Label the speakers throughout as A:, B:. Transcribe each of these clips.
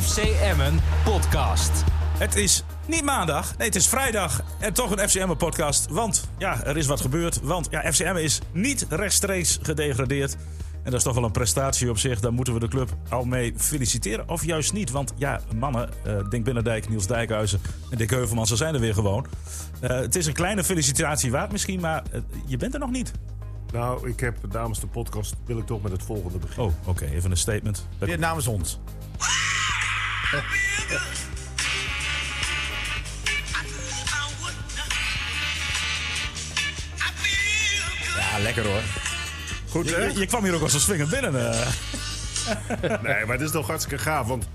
A: FC Emmen podcast.
B: Het is niet maandag, nee, het is vrijdag. En toch een FCM podcast. Want ja, er is wat gebeurd. Want ja, FCM is niet rechtstreeks gedegradeerd. En dat is toch wel een prestatie op zich. Daar moeten we de club al mee feliciteren. Of juist niet. Want ja, mannen, eh Dink Binnendijk, Niels Dijkhuizen en Dick Heuvelman, ze zijn er weer gewoon. Eh, het is een kleine felicitatie waard misschien, maar eh, je bent er nog niet.
C: Nou, ik heb namens de podcast wil ik toch met het volgende beginnen.
B: Oh, oké, even een statement.
D: Dit namens ons. Ja, lekker hoor.
C: Goed, hè?
B: Je, je kwam hier ook als een swinger binnen. eh.
C: Nee, maar het is toch hartstikke gaaf, want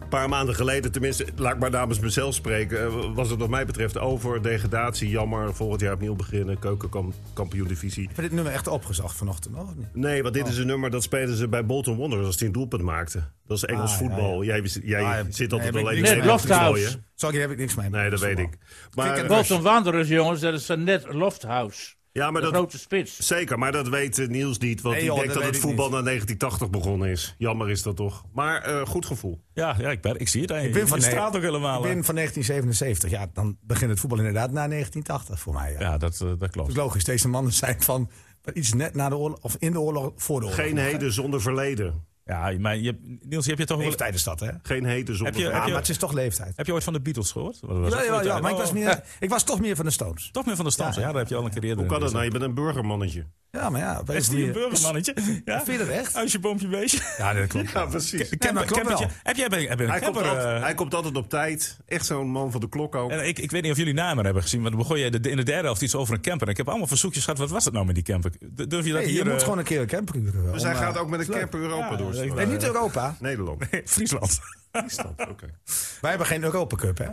C: een paar maanden geleden, tenminste, laat ik maar namens mezelf spreken, eh, was het wat mij betreft over degradatie, jammer, volgend jaar opnieuw beginnen, keukenkampioen divisie.
D: Heb je dit nummer echt opgezacht vanochtend? nog of niet?
C: Nee, want dit is een nummer dat spelen ze bij Bolton Wanderers als die een doelpunt maakte. Dat is Engels
D: Ah,
C: voetbal. Jij, jij
D: Ah, ja.
C: zit altijd
D: Nee, ben
C: alleen
D: ik
C: in
D: niks mee.
C: Nederland te
E: Lofthouse.
C: klooien.
D: Zal ik hier heb ik niks mee.
C: Nee, dat weet ik. Maar,
D: Cricket-
E: Bolton Wanderers, jongens, dat is een net Lofthouse.
C: ja, maar
E: De
C: dat,
E: grote spits.
C: Zeker, maar dat weet eh, Niels niet. Want
D: Nee,
C: hij
D: joh,
C: denkt
D: dat
C: dat het
D: weet ik
C: voetbal na 1980 begonnen is. Jammer is dat toch. Maar eh, goed gevoel.
B: ja, ja ik, ben, ik zie het. Ik
D: Ik ben van,
B: je
D: nee,
B: straalt ook helemaal.
D: ik
B: eh.
D: ben van 1977. Ja, dan begint het voetbal inderdaad na 1980 voor mij. Ja.
B: Ja, dat, eh, dat klopt.
D: Dat is logisch. Deze mannen zijn van iets net na de oorlog, of in de oorlog, voor de oorlog.
C: Geen heden zonder verleden.
B: Ja, maar je, Niels, heb je toch wel...
D: Leeftijd is dat, hè? Ja,
C: Geen heden zonder
B: Heb je-
C: verleden.
D: maar het is toch leeftijd.
B: Heb je ooit van de Beatles gehoord? Dat was
D: Ja,
B: ook
D: ja,
B: ooit
D: ja,
B: uit.
D: maar ik was,
B: Oh,
D: meer, ik was toch meer van de Stones.
B: Toch meer van de stand. Ja, daar heb je al een keer eerder.
C: Hoe kan dat
B: in
C: nou? Je bent een burgermannetje.
D: Ja, maar ja. op een
B: deze- Is
D: of
B: die een
D: andere manier-
B: burgermannetje? Ja.
D: eh, Vind je dat echt?
B: Als je boompje beestje. Nou,
D: Ja, dat klopt.
C: Ja, precies.
D: Ja, maar klopt wel.
B: Heb jij heb je een
C: Hij komt,
B: camper,
C: altijd,
B: eh,
C: hij komt altijd op tijd. Echt zo'n man van de klok ook.
B: en eh, ik, ik weet niet of jullie namen hebben gezien, maar dan begon je de- in de derde helft iets over een camper. En ik heb allemaal verzoekjes gehad, wat was het nou met die camper? D- Durf je dat
D: Nee,
B: hier...
D: je moet
B: eh,
D: gewoon een keer een camper huren.
C: dus
D: om,
C: hij
D: eh,
C: gaat ook met een camper Europa
B: Ja,
C: door.
B: dat-
C: Eh,
D: Nee, niet Europa.
C: Nederland.
B: Friesland.
C: Oké.
D: Wij hebben geen Europa Cup, hè?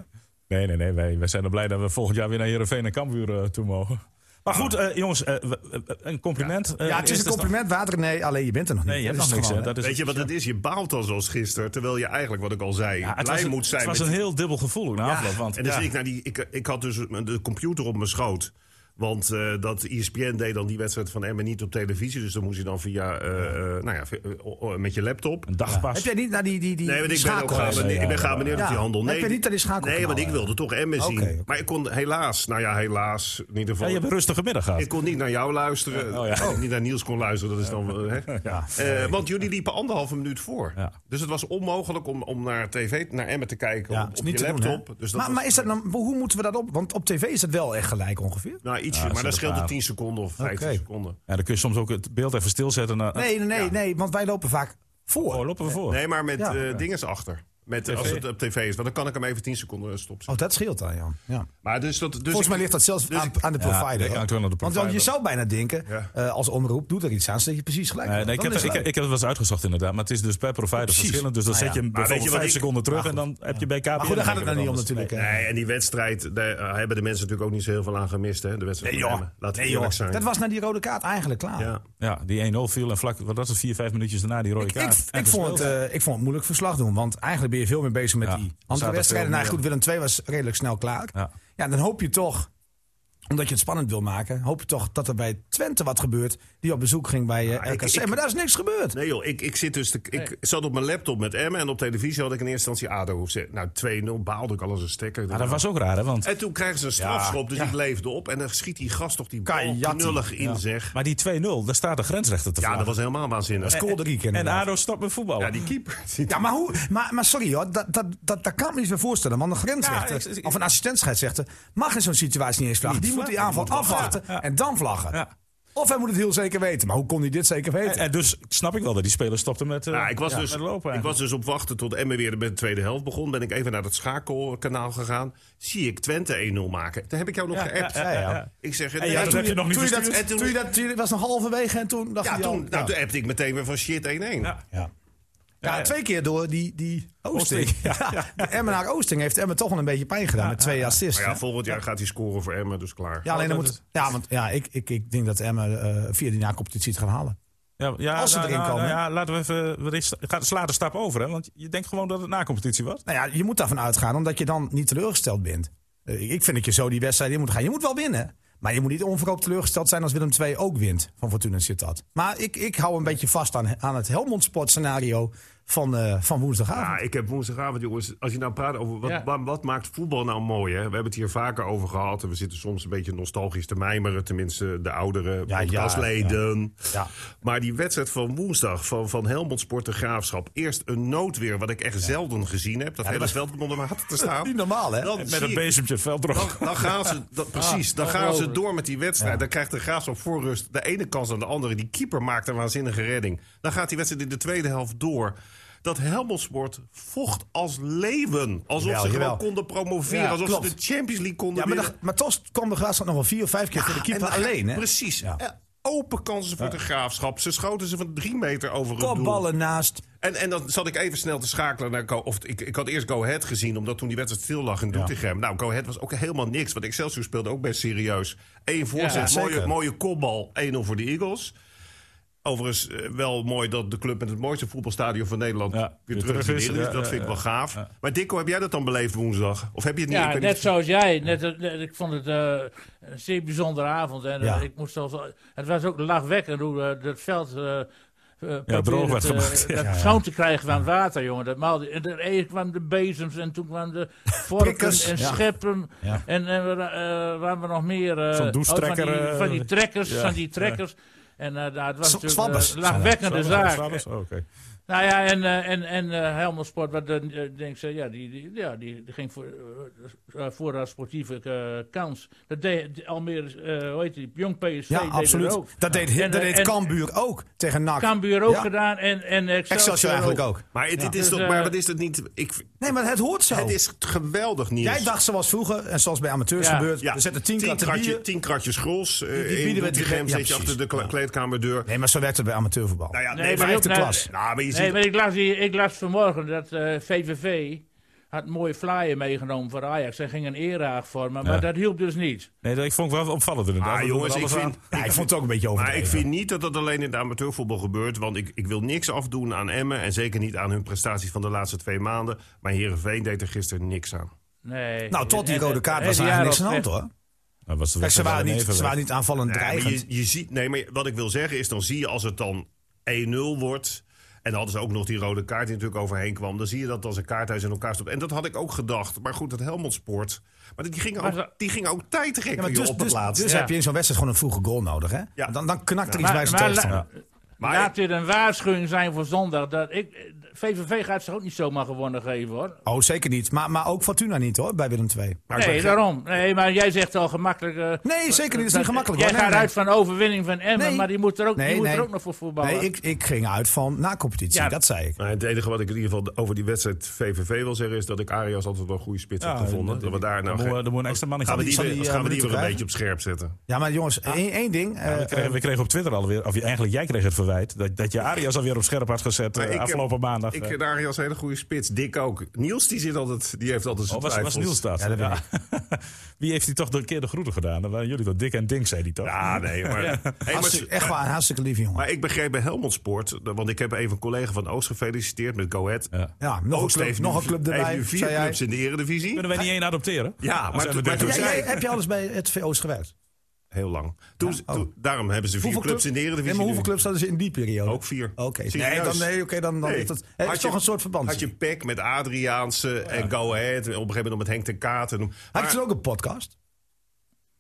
B: Nee, nee, nee. Wij, wij zijn er blij dat we volgend jaar weer naar Heerenveen en Cambuur eh, toe mogen. Maar goed, eh, jongens, eh, we- eh, een compliment. eh,
D: Ah. Ja, het is
B: eerst
D: een compliment, water. Nee, alleen je bent er nog niet.
B: Nee, je hebt
D: Dat
B: nog
D: is
B: niks.
D: gewoon,
B: hè. Dat is
C: Weet je wat het is? Je baalt dan zoals gisteren. Terwijl je eigenlijk, wat ik al zei,
B: Ja, het was
C: blij
B: een,
C: moet zijn.
B: het was
C: met
B: een heel dubbel gevoel ook na afloop. Want,
C: En dan
B: ja.
C: zit ik naar die. Ik, ik had dus een- de computer op mijn schoot. Want eh, dat ESPN deed dan die wedstrijd van Emmen niet op televisie. Dus dan moest je dan via. eh, eh, nou ja, via- eh, oh, eh, met je laptop.
B: een dagpas.
D: Heb jij niet naar die, die, die
C: Nee, want ik ben ook eh,
D: schakel-
C: geabonneerd, ik ben geabonneerd
D: Ja.
C: op die handel.
D: Heb
C: Nee,
D: je niet aan die schakelkanaal,
C: Nee, want ik wilde toch Emmen zien.
D: Oké, oké.
C: Maar ik kon helaas, nou ja, helaas. In ieder
B: Ja,
C: geval.
B: je hebt een rustige middag gehad.
C: ik kon niet naar jou luisteren.
B: Oh, ja.
C: Dat ik niet naar Niels kon luisteren, dat is dan. wel, Hè?
B: Ja.
C: Eh, want jullie liepen anderhalve minuut voor.
B: Ja.
C: Dus het was onmogelijk om, om naar tv, naar Emmen te kijken.
D: Ja,
C: op,
D: is
C: op
D: niet
C: je
D: te doen,
C: laptop.
D: hè?
C: dus dat
D: maar,
C: was-
D: maar is dat dan, hoe moeten we dat op? Want op tv is het wel echt gelijk ongeveer.
C: Nou, ietsje,
B: Ja, dat
C: maar dat
B: zit
C: scheelt
B: er
C: een
B: aan.
C: 10 seconden of 15
D: Oké.
C: seconden.
B: Ja, dan kun je soms ook het beeld even stilzetten. en dan-
D: Nee, nee, nee, nee, want wij lopen vaak voor.
B: Oh, lopen we voor.
C: Nee, maar met
D: Ja.
C: eh dinges achter. Met, Als het op tv is, want dan kan ik hem even 10 seconden stoppen.
D: Oh, dat scheelt dan, Jan. Ja.
C: Maar dus dat, dus
D: Volgens mij
C: ik-
D: ligt dat zelfs
C: dus
D: aan,
C: ik-
D: aan de
B: Ja,
D: provider.
B: ik
D: hoor.
B: hangt wel aan de
D: Want dan,
B: provider.
D: je zou bijna denken,
C: Ja.
D: eh, als omroep doet er iets aan, zodat je precies gelijk
B: Eh,
D: hebt.
B: nee, ik,
D: Dan
B: heb,
D: is
B: ik, ik
D: het
B: heb
D: gelijk.
B: het wel eens uitgezocht inderdaad, maar het is dus per provider
D: Precies.
B: verschillend. Dus dan
D: Ah, ja.
B: zet je hem
C: Maar weet
B: bijvoorbeeld
C: je wat
B: vijf
C: ik-
B: seconden terug en dan heb je bij KPN...
D: Maar goed, daar gaat het
B: dan
D: dan niet om
B: anders.
D: natuurlijk. hè.
C: Nee, en die wedstrijd, daar eh, hebben de mensen natuurlijk ook niet zo heel veel aan gemist. Hè? De wedstrijd
D: Nee,
C: van
D: joh.
C: Emmen. Laten we
D: Nee,
C: eerlijk
D: joh.
C: zijn.
D: Dat was na die rode kaart eigenlijk klaar.
C: ja.
B: Ja, die 1-0 viel en vlak, wat was het, vier, vijf minuutjes daarna die rode
D: Ik,
B: kaart.
D: ik, ik, vond het,
B: Ja,
D: eh, ik vond het moeilijk verslag doen, want eigenlijk ben je veel meer bezig met
B: Ja,
D: die
B: er
D: andere
B: zaten
D: wedstrijden.
B: veel
D: Nou goed,
B: meer.
D: Willem II was redelijk snel klaar.
B: Ja.
D: Ja. dan hoop je toch, omdat je het spannend wil maken, hoop je toch dat er bij Twente wat gebeurt, die op bezoek ging bij eh,
C: ik-
D: RKC.
C: ik-
D: maar daar is niks gebeurd.
C: Nee joh, ik, ik, zit dus te- ik zat op mijn laptop met Emmen en op televisie had ik in eerste instantie ADO. op zet. Nou, 2-0 baalde ik al als een stekker.
B: dat was ook raar, hè, want...
C: En toen krijgen ze een strafschop, dus ik leefde op. En dan schiet die gast toch die bal
D: Kajati.
C: knullig in, zeg.
B: Maar die 2-0, daar staat de grensrechter te
C: Ja, dat
B: vragen.
C: was helemaal waanzinnig.
D: Scoorde Riek
B: En
D: inderdaad.
B: ADO stopt met voetballen.
C: Ja, die keeper.
D: Ja, maar, hoe, maar, maar sorry hoor, dat, dat, dat, dat kan ik me niet meer voorstellen. Want een
B: Ja,
D: grensrechter
B: ik- ik-
D: of een assistentscheidsrechter mag in zo'n situatie niet eens vlaggen.
B: Niet
D: Die moet die
B: vlaggen,
D: aanval
B: die moet wel
D: afwachten
B: vlaggen. Ja.
D: en dan vlaggen.
B: Ja.
D: Of hij moet het heel zeker weten. Maar hoe kon hij dit zeker weten?
B: En, en dus snap ik wel dat die speler stopte met, eh,
C: Ja, ik, was
B: ja,
C: dus,
B: met lopen.
C: ik was
B: eigenlijk.
C: dus op wachten tot Emmen weer met de tweede helft begon. Ben ik even naar het schakelkanaal gegaan. Zie ik Twente 1-0 maken. Daar heb ik jou nog geappt.
B: ja, ja, ja.
C: Ik zeg,
B: ja, dat heb je nog niet
D: toen je dat,
B: verstuurd.
C: en toen-
D: toen je dat, toen je- was nog halverwege en toen dacht
C: ja,
D: hij al-
C: toen, nou, toen appte ik meteen weer van shit 1-1.
B: Ja.
D: ja. Ja,
B: ja.
D: twee keer door die, die Oosting.
B: Oosting, ja.
D: Ja, de Emmenaar Oosting heeft Emmen toch wel een beetje pijn gedaan met twee assists.
C: Maar
D: hè?
C: ja, volgend jaar gaat hij scoren voor Emmen, dus klaar.
D: Ja, alleen dan
B: dat
D: moet, ja, want ja, ik, ik, ik denk dat Emmen eh via die na-competitie het gaat halen.
B: Ja, ja,
D: Als ze
B: nou,
D: erin
B: nou,
D: komen.
B: nou ja, laten we even. wat is- Ga, sla de stap over, hè? Want je denkt gewoon dat het na-competitie was.
D: Nou ja, je moet daarvan uitgaan, omdat je dan niet teleurgesteld bent. Eh, ik- ik vind dat je zo die wedstrijd in moet gaan. Je moet wel winnen. Maar je moet niet onverkoopt teleurgesteld zijn als Willem II ook wint van Fortuna Sittard. Maar ik, ik hou een beetje vast aan, aan het Helmond Sport scenario van, eh, van woensdagavond.
C: Ja, ik heb woensdagavond, jongens, als je nou praat over wat,
E: Ja.
C: wa- wat, maakt voetbal nou mooi, hè? We hebben het hier vaker over gehad en we zitten soms een beetje nostalgisch te mijmeren, tenminste de oudere
D: Ja,
C: podcastleden.
D: Ja.
C: Maar die wedstrijd van woensdag van, van Helmond Sport en Graafschap, eerst een noodweer, wat ik echt zelden gezien heb, dat hele veld begon om water te staan.
D: Niet normaal, hè?
C: Dan
B: Met
C: zie
B: een
C: ik-
B: bezemtje het veld droog.
C: dan gaan ze, dat, precies, dan
D: Ah,
E: dan
C: gaan ze
E: over.
C: door met die wedstrijd. Dan krijgt de Graafschap voor rust de ene kans aan de andere. Die keeper maakt een waanzinnige redding. Dan gaat die wedstrijd in de tweede helft door. Dat Helmelsport vocht als leeuwen. Alsof
D: Jawel,
C: ze gewoon
D: jawel.
C: konden promoveren.
E: Ja,
C: alsof
D: klopt.
C: ze de Champions League konden
D: Ja, maar,
C: winnen.
D: dat- maar toch kwam de Graafschap nog wel vier of vijf keer voor de
C: En
D: keeper
C: dan ga-
D: alleen, hè?
C: Precies.
D: Ja.
C: Eh, Open kansen voor de graafschap. Ze schoten ze van drie meter over het doel.
D: Kopballen naast.
C: En, en dan zat ik even snel te schakelen naar Go of ik, ik had eerst Go Ahead gezien, omdat toen die wedstrijd stil lag in Doetinchem. Nou, Go Ahead was ook helemaal niks, want Excelsior speelde ook best serieus. Eén voorzet,
E: Ja,
C: mooie,
D: zeker.
C: mooie kopbal, 1-0 voor de Eagles. Overigens eh, wel mooi dat de club met het mooiste voetbalstadion van Nederland
B: Ja,
C: weer
B: weer
C: terug is. in
B: terug is.
C: de Eredivisie.
B: Ja,
C: dat
B: ja,
C: vind ik
B: ja.
C: wel gaaf. Maar Dikko, heb jij dat dan beleefd woensdag? Of heb je het niet?
E: Ja,
C: Ik weet
E: net
C: niet-
E: zoals jij. Net, net- ik vond het eh, een zeer bijzondere avond. En, eh,
D: Ja.
E: ik moest zelfs, het was ook lachwekkend hoe eh, het veld... eh, eh, probeerde
B: droog werd
E: te- eh,
B: gemaakt, ja.
E: dat schoon te krijgen van water, jongen. Dat maalde, en er eerst kwamen de bezems en toen kwamen de vorken
D: Prikkers.
E: en
D: Ja.
E: scheppen.
D: Ja.
E: En, en we, eh, waren we nog meer... eh,
B: Zo'n
E: oh,
B: douchetrekker,
E: van, die,
B: eh,
E: van die trekkers,
B: ja,
E: van die trekkers. En eh, nou, het was
D: Zw-
E: natuurlijk
D: zwabbers.
E: een lachwekkende zaak.
B: Oké.
E: Nou ja, en, eh, en, en eh, Helmond Sport, wat, eh, denk ze, ja, die, die, ja, die, die ging voor, eh, eh, voor haar sportieve eh, kans. Dat deed de- Almere, eh hoe heet die, Jong PSV
D: Ja,
E: deed dat
D: absoluut.
E: ook.
D: Dat deed,
E: En,
D: dat
E: eh,
D: deed
E: en-
D: Cambuur ook tegen NAC.
E: Cambuur ook
D: Ja.
E: gedaan en, en Excelsior,
D: Excelsior eigenlijk ook.
C: Maar, het, het is
E: Dus,
C: toch,
E: eh, Nou.
C: maar wat is het niet? Ik,
D: Nee, maar het hoort zo.
C: het is geweldig nieuws.
D: Jij dacht zoals vroeger, en zoals bij amateurs
E: Ja.
D: gebeurt,
C: Ja,
D: we zetten tien, kratten
C: kratje-
D: bier.
C: tien kratjes gros. eh, in
D: bieden we
C: de
D: het
C: Doetinchem
D: direct- ja,
C: zit je achter de
D: precies.
C: kle- kleedkamerdeur.
D: Nee, maar zo werkt het bij amateurvoetbal.
C: Nou ja, nee,
E: Nee, maar
C: maar,
E: ook-
D: Vijfde
E: nee,
D: klas.
C: nou, maar je ziet
E: Nee, maar ik las, hier, ik las vanmorgen dat eh, VVV had een mooie flyer meegenomen voor Ajax. Zij ging een erehaag vormen, maar
B: Ja.
E: dat hielp dus niet.
B: Nee, dat- ik vond het wel opvallend inderdaad.
C: Ah,
B: We doen
C: jongens,
B: er alles
C: ik vind-
B: aan.
D: Ja, ik vond het ook een beetje
C: Maar
D: overdreven.
C: ik vind niet dat dat alleen in de amateurvoetbal gebeurt. Want ik, ik wil niks afdoen aan Emmen. En zeker niet aan hun prestaties van de laatste twee maanden. Maar Heerenveen deed er gisteren niks aan.
E: Nee.
D: Nou, tot die
E: En- en-
D: rode kaart
E: en-
D: was
E: en-
D: eigenlijk niks
E: ja,
D: aan de hand,
E: dat-
D: hoor.
B: Nou, was de
D: Kijk, ze
B: wedstrijd
D: waren
B: wel
D: niet,
B: even
D: ze
B: weg.
D: waren niet aanvallend
C: Nee, maar
D: dreigend.
C: je, je ziet, nee, maar wat ik wil zeggen is, dan zie je als het dan 1-0 wordt... En dan hadden ze ook nog die rode kaart die natuurlijk overheen kwam. Dan zie je dat als een kaarthuis in elkaar stopt. En dat had ik ook gedacht. Maar goed, dat Helmond Sport. Maar die gingen
E: Maar
C: ook,
E: ze-
C: die gingen ook tijd
D: Ja,
C: rekken
D: maar
C: joh,
D: dus
C: op het
D: dus,
C: laatst.
D: dus
E: Ja.
D: heb je in zo'n wedstrijd gewoon een vroege goal nodig, hè?
C: Ja.
D: Dan, dan knakt er iets
E: Maar-
D: bij zijn
E: maar
D: tegenstander.
E: la-
C: Maar-
E: Laat dit een waarschuwing zijn voor zondag. Dat ik, eh, VVV gaat zich ook niet zomaar gewonnen geven hoor.
D: Oh, zeker niet. Maar, maar ook Fortuna niet, hoor, bij Willem II.
C: Maar ik ben
E: nee,
C: gek.
E: daarom. Nee, maar jij zegt al gemakkelijk. eh,
D: Nee, zeker niet. Dat is
E: dat-
D: niet gemakkelijk,
E: Jij
D: hoor. Nee,
E: gaat
D: nee.
E: uit van overwinning van Emmen,
D: Nee.
E: maar die moet er ook,
D: Nee,
E: die moet
D: nee.
E: er ook nog voor voetballen.
D: Nee, ik, ik ging uit van na-competitie,
E: Ja.
D: dat zei ik.
C: Nou, het enige wat ik in ieder geval over die wedstrijd VVV wil zeggen... is dat ik Arias altijd wel een goede spits
B: Ja,
C: heb gevonden. Dat we daar nou
B: Dan
C: geen-
B: moeten we- dan moet een extra mannetje
C: Gaan we
D: die-
C: die,
D: zal
C: weer-
D: die, eh,
C: gaan we die
D: minuten
C: weer een
D: krijgen?
C: beetje op scherp zetten?
D: Ja, maar jongens, één, één ding. eh,
B: We kregen, we kregen op Twitter alweer, of je- eigenlijk jij kreeg het verwijt, dat, dat je Arias alweer op scherp had gezet eh,
C: Maar ik heb-
B: afgelopen maandag.
C: Ik
B: Eh,
C: vind Arias een hele goede spits. Dick ook. Niels die zit altijd, die heeft altijd zijn
B: oh, was, was
C: twijfels.
B: Niels dat?
D: Ja, dat weet
B: Ja. Wie heeft die toch een keer de groeten gedaan? Dan waren jullie dat Dick en Dink, zei die toch?
C: Ja, nee, maar... Hey, maar,
D: hartstikke- echt waar, hartstikke lief, jongen.
C: maar ik begreep bij Helmond Sport... want ik heb even een collega van Oost gefeliciteerd met Go Ahead.
B: Ja.
D: Ja, nog een
C: Oost
D: club,
C: heeft
D: nog
C: nu-
D: een club
C: heeft
D: erbij,
C: nu vier
D: zei jij.
C: clubs in de eredivisie.
B: Kunnen wij niet één adopteren?
C: Ja,
B: Als
C: maar
B: we
C: toen-
B: dit
C: maar
B: doen.
C: toen-
D: Ja,
C: zei-
D: jij- heb je alles bij het VO's gewerkt?
C: Heel lang. Toen,
D: oh.
C: toen- daarom hebben ze vier
D: Hoeveel
C: clubs in de eredivisie
D: Nee, maar hoeveel
C: nu.
D: clubs hadden ze in die periode?
C: Ook vier.
D: Oké, nee,
C: Serieus.
D: dan, nee, oké, dan, dan
C: dus- Nee.
D: is dat het
C: Had
D: is
C: je-
D: toch een soort verband.
C: Had je Peck met Adriaanse en Go Ahead. Op een gegeven moment nog met Henk ten Kaat. En,
D: Had je
C: maar-
D: toen ook een podcast?
E: Oh,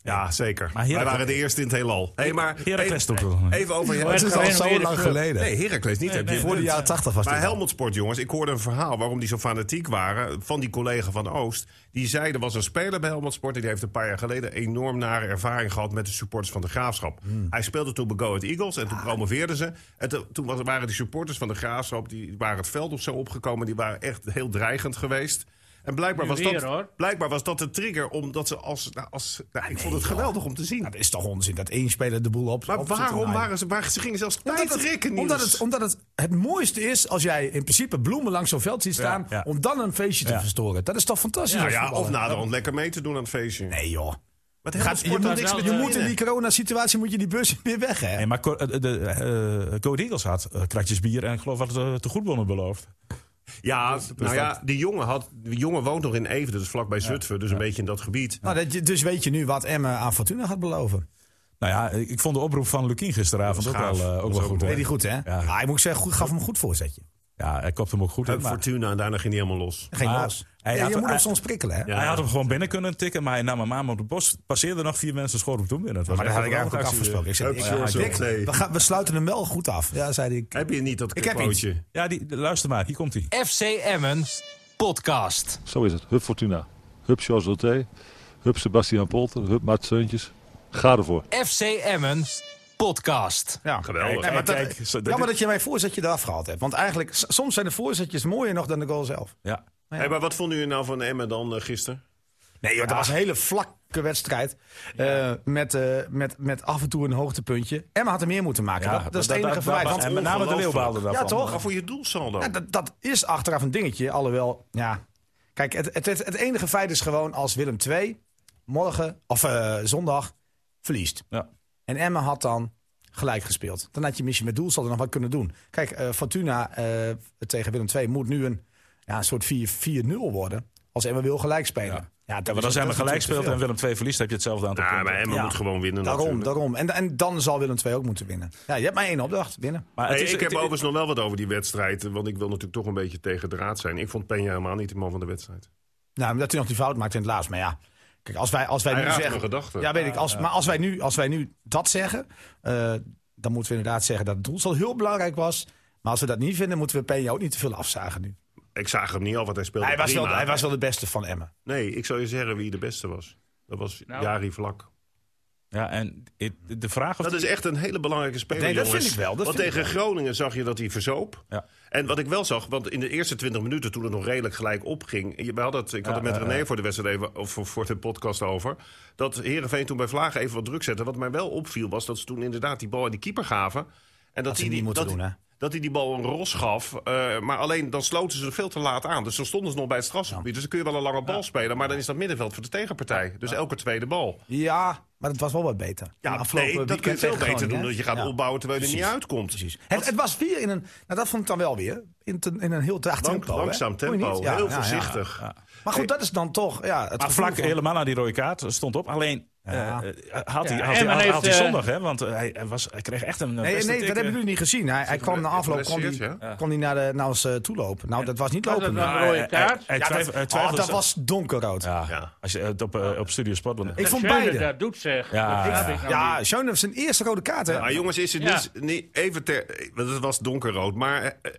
C: Ja, zeker.
B: Maar Heracles-
C: Wij waren de eerste in het heelal. Hey, maar
B: Heracles
C: even,
B: stond er nog niet.
C: even over
E: Het
D: Het
E: is
D: is
C: Heracles.
E: gewoon
D: al
E: een
D: zo
E: hele
D: lang
E: club.
D: geleden.
C: Nee, Heracles niet. heb je
D: Voor de jaren tachtig was
C: maar
D: dit al.
C: Helmond Sport, jongens, ik hoorde een verhaal waarom die zo fanatiek waren van die collega van Oost. Die zei, er was een speler bij Helmond Sport en die heeft een paar jaar geleden enorm nare ervaring gehad met de supporters van de Graafschap.
D: Hmm.
C: Hij speelde toen bij Go Ahead Eagles en toen
D: Ah.
C: promoveerden ze. En to- toen was- waren die supporters van de Graafschap, die waren het veld of zo opgekomen, die waren echt heel dreigend geweest. En blijkbaar
E: Nu
C: was,
E: weer,
C: dat,
E: hoor.
C: blijkbaar was dat de trigger, omdat ze als... Nou, als
D: Ah,
C: nou, ik vond het geweldig om te zien.
D: Dat is toch onzin dat één speler de boel op.
C: Maar
D: op zit te
C: waarom
D: draaien.
C: waren ze... Waar, ze gingen zelfs
D: Omdat
C: tijd
D: het,
C: rekken,
D: omdat,
C: Niels.
D: het, omdat het het mooiste is als jij in principe bloemen langs zo'n veld ziet staan.
B: ja.
D: om dan een feestje te
B: Ja.
D: verstoren. Dat is toch fantastisch?
C: Nou
D: als
C: ja, of
D: voetballer?
C: na de hand lekker mee te doen aan het feestje.
D: Nee, joh.
C: Wat
D: Gaat, je moet,
E: daar
D: niks
E: wel,
D: met- je
E: eh,
D: moet in die coronasituatie moet je die bus weer weg, hè?
B: Nee, maar Co- eh, de, eh, eh, Go Eagles had eh, kratjes bier en ik geloof dat het de goedbonnen beloofd.
C: Ja, nou ja, die jongen, had, die jongen woont nog in Even, dus vlakbij Zutphen, dus een beetje in dat gebied.
D: Nou, dat, je- dus weet je nu wat Emma aan Fortuna gaat beloven.
B: Nou ja, ik vond de oproep van Lukien gisteravond
C: Dat
B: ook
C: was
B: wel,
C: gaaf.
B: eh,
C: Dat
B: ook
C: was
B: wel
C: ook
B: goed.
C: mooi.
B: hoor.
D: Weet hij goed, hè?
B: Ja.
D: Ah, ik moet zeggen, goed, gaf hem een goed voorzetje.
B: Ja, hij kopt hem ook goed. in,
C: Hup
B: maar-
C: Fortuna en daarna ging hij helemaal los.
D: Geen
B: Ah,
D: los.
B: hij
D: Ja,
B: had-
D: je moet
B: hij-
D: hem soms prikkelen, hè?
C: Ja.
B: Hij had hem gewoon binnen kunnen tikken, maar hij nam hem aan op de bos. Passeerde nog vier mensen, schoot op toen binnen.
D: Maar dat had ik eigenlijk ook afgesproken. Ik zei,
C: Hup,
D: ik-
C: zo, zo.
D: Dick,
C: Nee.
D: we, gaan, we sluiten hem wel goed af. Ja, zei ik.
C: Heb je niet dat
D: Ik heb iets.
C: quoteje?
B: Ja, die, luister maar, hier komt hij.
A: FC Emmen podcast.
F: Zo is het. Hup Fortuna. Hup Charles Roté. Hup Sebastian Polter. Hup Maat Seuntjes. Ga ervoor.
A: FC Emmen podcast.
D: Ja,
C: Geweldig.
D: Nee, maar dat,
B: Kijk, zo- dat-
D: jammer dat je mijn voorzetje eraf gehaald hebt. Want eigenlijk, s- soms zijn de voorzetjes mooier nog dan de goal zelf.
B: Ja.
C: Hey, maar wat vonden jullie nou van Emmen dan eh, gisteren?
D: Nee, joh, dat was een hele vlakke wedstrijd. Eh, met, eh, met, met af en toe een hoogtepuntje. Emma had er meer moeten maken.
B: Ja,
D: dat, dat is het enige
B: dat-
D: verwijt.
B: dat-
D: Want-
B: En met name de
C: ongelooflijk.
B: Leeuwbaalden daarvan.
D: Ja, toch?
C: Maar voor je doelsaldo.
D: Ja, dat, dat is achteraf een dingetje. Alhoewel, ja. Kijk, het, het, het, het enige feit is gewoon als Willem II morgen, of eh, zondag, verliest.
B: Ja.
D: En Emma had dan gelijk gespeeld. Dan had je misschien met doelstelling nog wat kunnen doen. Kijk, eh, Fortuna eh, tegen Willem II moet nu een, ja, een soort 4-4-0 worden. Als Emma wil gelijk spelen.
B: Ja.
D: Ja,
B: Ja, maar als Emmen gelijk speelt en Willem 2 verliest, heb je hetzelfde aantal
C: Ja,
B: punten.
C: maar Emmen
D: Ja.
C: moet gewoon winnen
D: Daarom,
C: natuurlijk.
D: daarom. En, en dan zal Willem II ook moeten winnen. Ja, je hebt maar één opdracht, winnen.
B: Maar
C: Hey,
B: het is-
C: ik heb
B: het-
C: overigens nog wel wat over die wedstrijd. Want ik wil natuurlijk toch een beetje tegen draad zijn. Ik vond Peña helemaal niet de man van de wedstrijd.
D: Nou, dat hij nog die fout maakt in het laatst. Maar ja, kijk, als wij, als wij
C: Hij
D: nu
C: raakt
D: zeggen...
C: mijn gedachten.
D: Ja, weet ik. Als, maar als wij, nu, als wij nu dat zeggen, eh, dan moeten we inderdaad zeggen dat het doelstel heel belangrijk was. Maar als we dat niet vinden, moeten we Peña ook niet te veel afzagen nu.
C: Ik zag hem niet al, want hij speelde
D: Hij was,
C: prima.
D: wel, hij was wel de beste van Emmen.
C: Nee, ik zou je zeggen wie de beste was. Dat was
E: Nou.
C: Jari Vlak.
B: Ja, en het- de vraag of...
C: Dat is echt een hele belangrijke speler,
D: Nee, dat
C: jongens.
D: vind ik wel, dat
C: want
D: vind
C: tegen Groningen zag je dat hij verzoop.
B: Ja.
C: En wat ik wel zag, want in de eerste 20 minuten toen het nog redelijk gelijk opging. je- We hadden het, ik had het met René voor de wedstrijd even, of voor, voor de podcast over. Dat Herenveen toen bij Vlagen even wat druk zette. Wat mij wel opviel was dat ze toen inderdaad die bal aan die keeper gaven. En dat,
D: ze
C: hij
D: niet
C: die-
D: moeten
C: dat-
D: doen, hè?
C: Dat hij die bal een ros gaf. eh, maar alleen dan sloten ze er veel te laat aan. Dus dan stonden ze nog bij het strafgebied. Dus dan kun je wel een lange bal spelen. Maar dan is dat middenveld voor de tegenpartij. Dus elke tweede bal.
D: Ja, maar het was wel wat beter.
C: Ja,
D: Afgelopen
C: nee, dat
D: weekend
C: kun je veel
D: tegen
C: beter doen.
D: Groningen,
C: Dat je
D: hè?
C: gaat
D: Ja.
C: opbouwen terwijl je er niet uitkomt. Precies.
D: Het, het was weer in een... Nou, dat vond ik dan wel weer. In, te- in een heel traag tempo. hè?
C: langzaam
D: Vond je
C: tempo.
D: niet? Ja,
C: heel
D: ja, ja.
C: voorzichtig.
D: Maar goed, dat is dan toch... Ja, het
B: Maar
D: gevoel
B: vlak
D: van-
B: helemaal na die rode kaart stond op. Alleen eh,
D: Ja.
B: had hij
E: Ja,
B: had hij-
E: Emmen
B: had- had
E: heeft,
B: hij
E: eh,
B: zondag, hè? Want eh, hij, hij was, hij kreeg echt een. eh,
D: Nee,
B: beste
D: nee
B: tik,
D: dat
B: eh.
D: hebben jullie niet gezien. Hij, hij kwam na afloop, kwam die,
C: geblesseerd,
D: kwam die naar, de, naar ons eh, toe lopen. Nou, dat was niet
E: Was dat
D: lopen.
E: wel
D: Ja,
E: Ah, een rode
B: Hij-
E: kaart?
B: hij
D: dat,
B: twijfel- hij
D: oh,
B: twijfelde
D: dat
B: ze-
D: was donkerrood. Ja,
B: Ja,
C: Ja.
B: als je het op, eh, op Studio Sport. want-
D: Ik vond
E: Dat Schöne
D: beide.
E: dat doet zeg.
B: Ja,
E: dat
B: ja.
E: snap ik nou
D: ja
E: niet.
D: Schoen heeft zijn eerste rode kaart. Hè? Ja,
C: Maar jongens, is het
E: Ja.
C: niet, niet even ter... eh, want Het was donkerrood, maar... eh, eh,